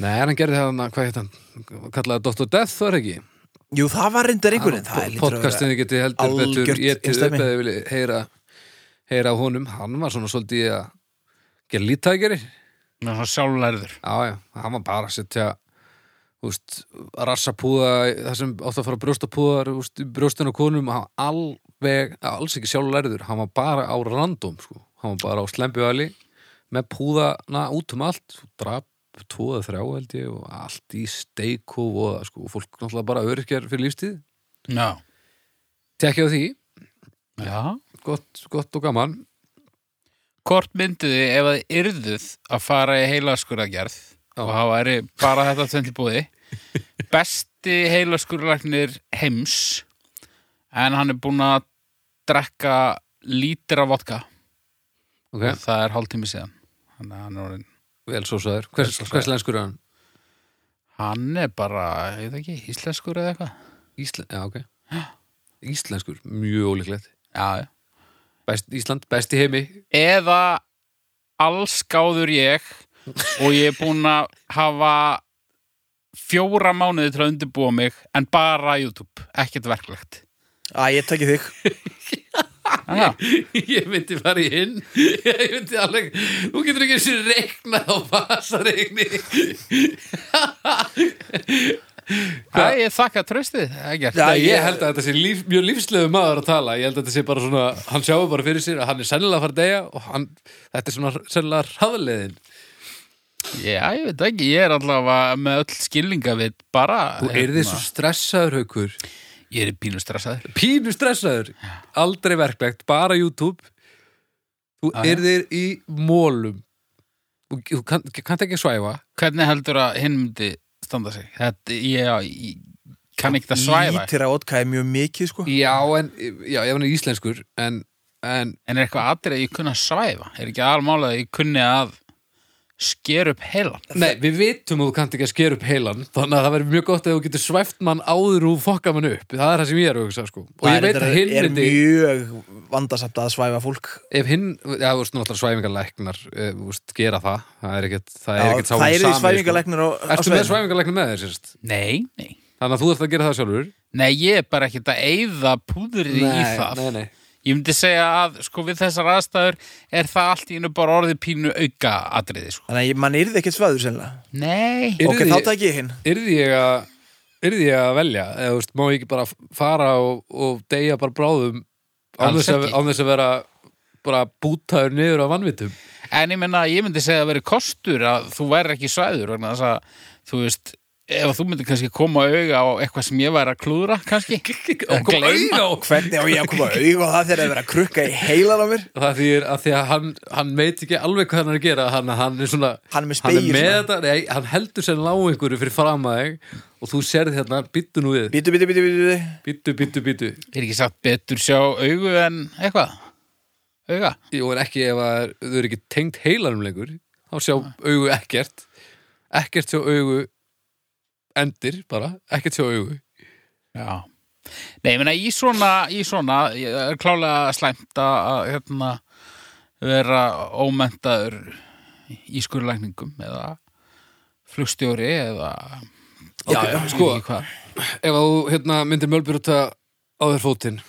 S2: Nei, en hann gerði það, hann- hvað hétt hann? Kallaði það Dr. Death, var ekki?
S1: Jú, það var reyndar einhvern veginn, það er lítur að vera.
S2: Podcastinni geti heldur
S1: algjört
S2: betur Ég til upp
S1: einsdæmi.
S2: að ég vilja heyra, heyra á honum Hann var svona svolítið að gera lítækjari
S3: Ná, svo sjálflærður.
S2: Já, já, hann var bara að setja þú veist, rassapúða það sem átt að fara brjóstapúðar þú veist, í brjóstin á konum hann var alveg, alls ekki sjálflærður hann var bara á random sko. hann var bara á slembjöðali með púðana út um allt drap, tvoða þrjá held ég og allt í steik og voða sko. og fólk náttúrulega bara öryrkjar fyrir lífstíð
S3: Já.
S2: tekja á því,
S3: Já.
S2: gott, gott og gaman
S3: Hvort mynduð þið ef þið yrðuð að fara í heilaskurðagerð
S2: Já.
S3: og hafa væri bara þetta tvennt í búði besti heilaskurðalæknir heims en hann er búin að drekka lítra vodka
S2: okay.
S3: og það er hálftími síðan hann er, hann er, orðinn-
S2: vel svo sæður, hvers,
S3: Vel svo
S2: hvers lenskur er hann?
S3: hann er bara, ég veit ekki, íslenskur eða eitthvað
S2: Ísla, já, ok. Íslenskur, mjög ólíklegt
S3: Já, já.
S2: Best, Ísland, besti heimi
S3: eða allskáður ég og ég er búin að hafa fjóra mánuði til að undirbúa mig en bara YouTube, ekkert verklegt
S1: Æ, ég tekki þig.
S3: Já,
S2: ég myndi fara í hinn ég myndi alveg, þú getur ekki þessi reikna á vasareikni
S3: Æ, ég þakka tröstið Ekkert
S1: Já,
S2: Nei, ég
S1: ég-
S2: held að þetta sé líf, mjög lífslegu maður að tala ég held að þetta sé bara svona, hann sjáu bara fyrir sér að hann er sennilega að fara að deyja og hann, þetta er svona sennilega hraðleiðin
S3: Já, ég veit ekki, ég er allavega með öll skilninga við bara hérna,
S2: þú er þið svo stressaður haukur
S3: Ég er pínu stressaður
S2: pínu stressaður, aldrei verklegt bara YouTube þú
S3: Já, já.
S2: er þið í mólum þú, þú kann, kannt ekki svæfa
S3: Hvernig heldur að hinn myndi standa sig? Þetta, ég, ég kann ekki það svæfa
S1: Lítir að otkæði mjög mikið, sko.
S2: já, en, já, ég var íslenskur en, en
S3: En er eitthvað atrið að ég kunna að svæfa? Er ekki aðalmála að ég kunni að sker upp heilan
S2: Nei, við vitum að þú kannt ekki að skera upp heilan þannig að það verður mjög gott að þú getur svæft mann áður og fokka mann upp, það er það sem ég er að hugsa sko. og ég veit að hinn
S1: er
S2: myndi
S1: mjög vandasamt að svæfa fólk
S2: ef hinn, já, þú veist, náttúrulega svæfingarlæknar eh, þú veist, gera það, það er ekkert það er
S1: Já,
S2: ekkert
S1: það eru
S2: sá
S1: því
S2: sko.
S1: svæfingalæknir á, á
S2: Ertu með
S1: svæðinu.
S2: svæfingarlæknar með þér, sérst?
S3: Nei, nei
S2: Þannig að þú ert að gera það sjálfur
S3: Nei, ég er bara ekkert að eyða púðri í það
S2: nei, nei
S3: Ég myndi segja að sko við þessar aðstæður er það allt í einu bara orðið pínu auka atriði sko.
S1: Þannig að ég- mann yrði ekkert svæður sennilega
S3: Nei,
S2: Yrði-
S1: Ok, þá tæk ég hinn
S2: Yrði ég að Yrði ég að velja eða, þú veist, Má ég ekki bara fara og, og deyja bara bráðum án
S3: Alls
S2: þess, að,
S3: ekki.
S2: án þess að vera bara bútaður niður af vannvitum
S3: en ég menna ég myndi segja að veri kostur að þú væri ekki svæður vegna þess að þú veist ef þú myndir kannski koma auga á eitthvað sem ég væri að klúðra kannski Eða gleyma.
S2: og
S1: Hvernig á ég að koma auðvitað það þegar það er verið að krukka í heilan á mér
S2: Það þýr að því að hann, hann veit ekki alveg hvað hann er að gera hann, hann er svona
S1: Hann er með sko.
S2: hann,
S1: spegil
S2: er með
S1: svona.
S2: þetta, nei, hann heldur sér lág einhverju fyrir fram að þig og þú serð hérna, býttu nú við
S1: Bítu, bítu, bítu, bítu
S2: býttu, býttu, býttu
S3: er ekki sagt betur sjá augu en eitthvað auga,
S2: Jú, en ekki ef að þau eru ekki tengt heilanum lengur þá sjá
S1: Ah.
S2: augu ekkert ekkert sjá augu endir bara, ekkert sjá augu
S3: já nei, ég menna í svona, í svona ég er klálega slæmt að að, hérna, vera ómentaður í skurlækningum eða flugstjóri eða
S2: Já,
S3: Ok,
S2: já,
S3: ég
S2: sko.
S3: veit ekki hvað.
S2: Ef að þú hérna, myndir mjölbyrjóta á þér fótinn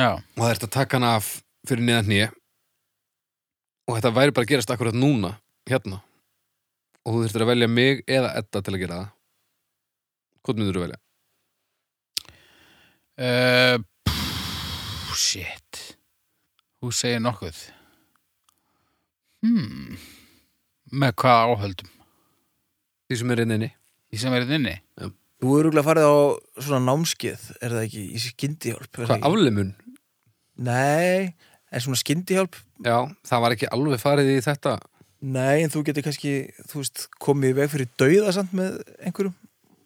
S3: já,
S2: og það ert að taka hana af fyrir niðan hnýja og þetta væri bara að gerast akkurat núna, hérna og þú þurftir að velja mig eða Edda til að gera það Hvort myndir þú velja?
S3: Uh, pff, shit Þú segir nokkuð Hmm Með hvað áhöldum
S2: Því sem er inninni
S3: Því sem verið inni
S1: Þú eru rúglega farið á svona námskeið Er það ekki í skyndihjálp? er það
S2: Hvað,
S1: ekki?
S2: aflimun?
S1: Nei, en svona skyndihjálp
S2: Já, það var ekki alveg farið í þetta
S1: Nei, en þú getur kannski, þú veist, komið í veg fyrir dauða samt með einhverjum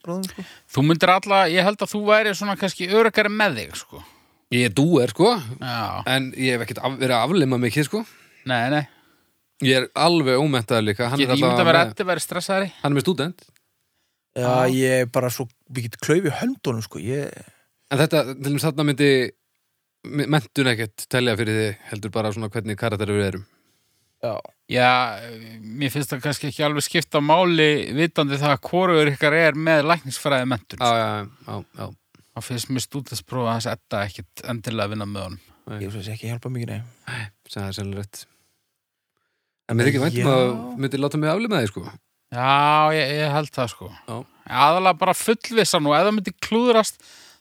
S1: ráðum, sko.
S3: Þú myndir alla, ég held að þú væri svona kannski örugari með þig sko
S2: Ég er dúer, sko
S3: Já,
S2: En ég hef ekkert af, verið að aflima mikið sko
S3: nei, nei
S2: Ég er alveg ómentaður líka Hann,
S3: Ég
S2: er,
S3: ég myndi
S2: allavega
S3: að vera
S2: með,
S3: eftir verið stressaðari
S2: hann er með stúdent
S1: Já,
S2: Ah.
S1: ég er bara svo mikið klauf í höndunum, sko. Ég,
S2: En þetta, til dæmis þarna myndi my- menntun ekkert telja fyrir þið heldur bara svona hvernig karakterir við erum
S1: já.
S3: Já, mér finnst það kannski ekki alveg skipta máli vitandi það að hvorugur ykkar er með læknisfræði mentur
S2: Já, já, já, já
S3: Það finnst mér stúdinsprófa hans etta ekkit endilega að vinna með honum
S1: Ég finnst ekki hjálpa mikið, nei.
S2: sem það er sennilega rétt En mér þykir væntum
S1: Já.
S2: að þú myndir láta mig aflima þið sko
S3: Já, ég, ég held það sko
S2: Já.
S3: aðalega bara fullvissa nú ef það myndi klúðrast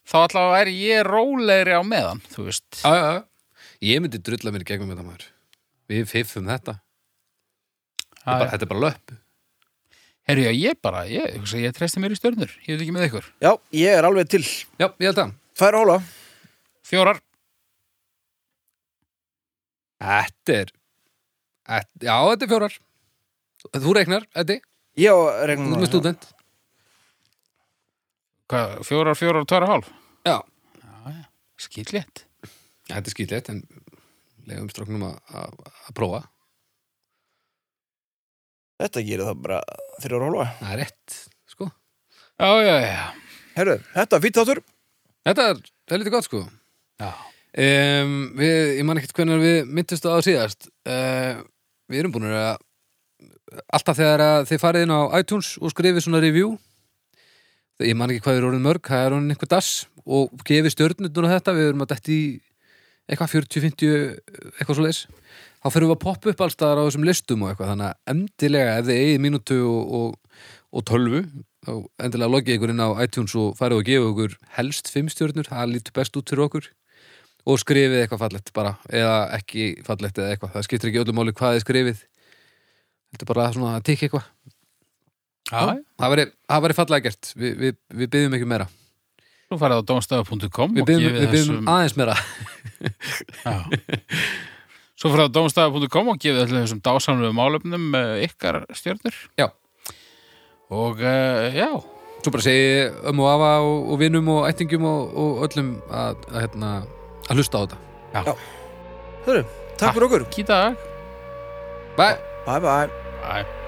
S3: þá allavega væri ég rólegri á meðan þú veist
S2: Já, já, já Ég myndi drulla mér í gegnum þetta maður Við fiffum þetta Þetta er bara, Þetta er bara löpp
S3: Herru, já, ég bara, ég, hugsa, ég treysti mér í stjörnur ég veit ekki með ykkur
S1: Já, ég er alveg til.
S2: Já, ég held að
S1: Færa hóla.
S3: Fjórar,
S2: Þetta er þetta, Já, þetta er fjórar Þú reiknar, Eddi,
S1: Ég á
S2: þú
S1: regnum.
S2: ert með stúdent
S3: hvað, fjórar, fjórar og tværa hálf
S2: Já,
S3: skillétt
S2: Já, þetta er skýtlegt en leiðum stróknum að- að að prófa
S1: Þetta gerir það bara þrjóra hóla.
S2: það er rétt, sko
S3: Já, já, já,
S1: Herru, þetta er fýtt þáttur.
S2: þetta er, það er lítið gott, sko
S3: já.
S2: um, við, ég man ekkert hvernig við myndist á síðast uh, við erum búin að alltaf þegar að þið farið inn á iTunes og skrifið svona review ég man ekki hvað er orðin mörg, það er orðin einhver das og gefið stjörnundur á þetta við erum að detti í eitthvað 40-50 eitthvað svo leis þá fyrir við að poppa upp allstaðar á þessum listum og eitthvað þannig að endilega ef þið eigið mínútu og, og, og tölvu þá endilega logið ykkur inn á iTunes og farið og gefa ykkur helst fimm stjörnur það lítur best út fyrir okkur og skrifið eitthvað fallegt bara eða ekki fallegt eða eitthvað það skiptir ekki öllu máli hvað þið skrifið þetta er bara svona að tikka eitthvað
S3: já.
S2: það væri, það væri fallega gert við, við, við byggjum ekki meira
S3: Þú farið á domstafu.com
S2: við byggjum, við byggjum aðeins meira
S3: Já. Svo fyrir á domstafu.com og gefið allir þessum dásamlegu málefnum eh, ykkar stjörnur
S2: Já.
S3: Og uh, já,
S2: Svo bara segi ég ömmu og afa og, og vinum og ættingum og, og öllum að, að, hérna, að hlusta á þetta.
S1: Herru, takk fyrir okkur.
S3: kýta dag
S2: Bye!
S1: Bye bye.
S3: Æ.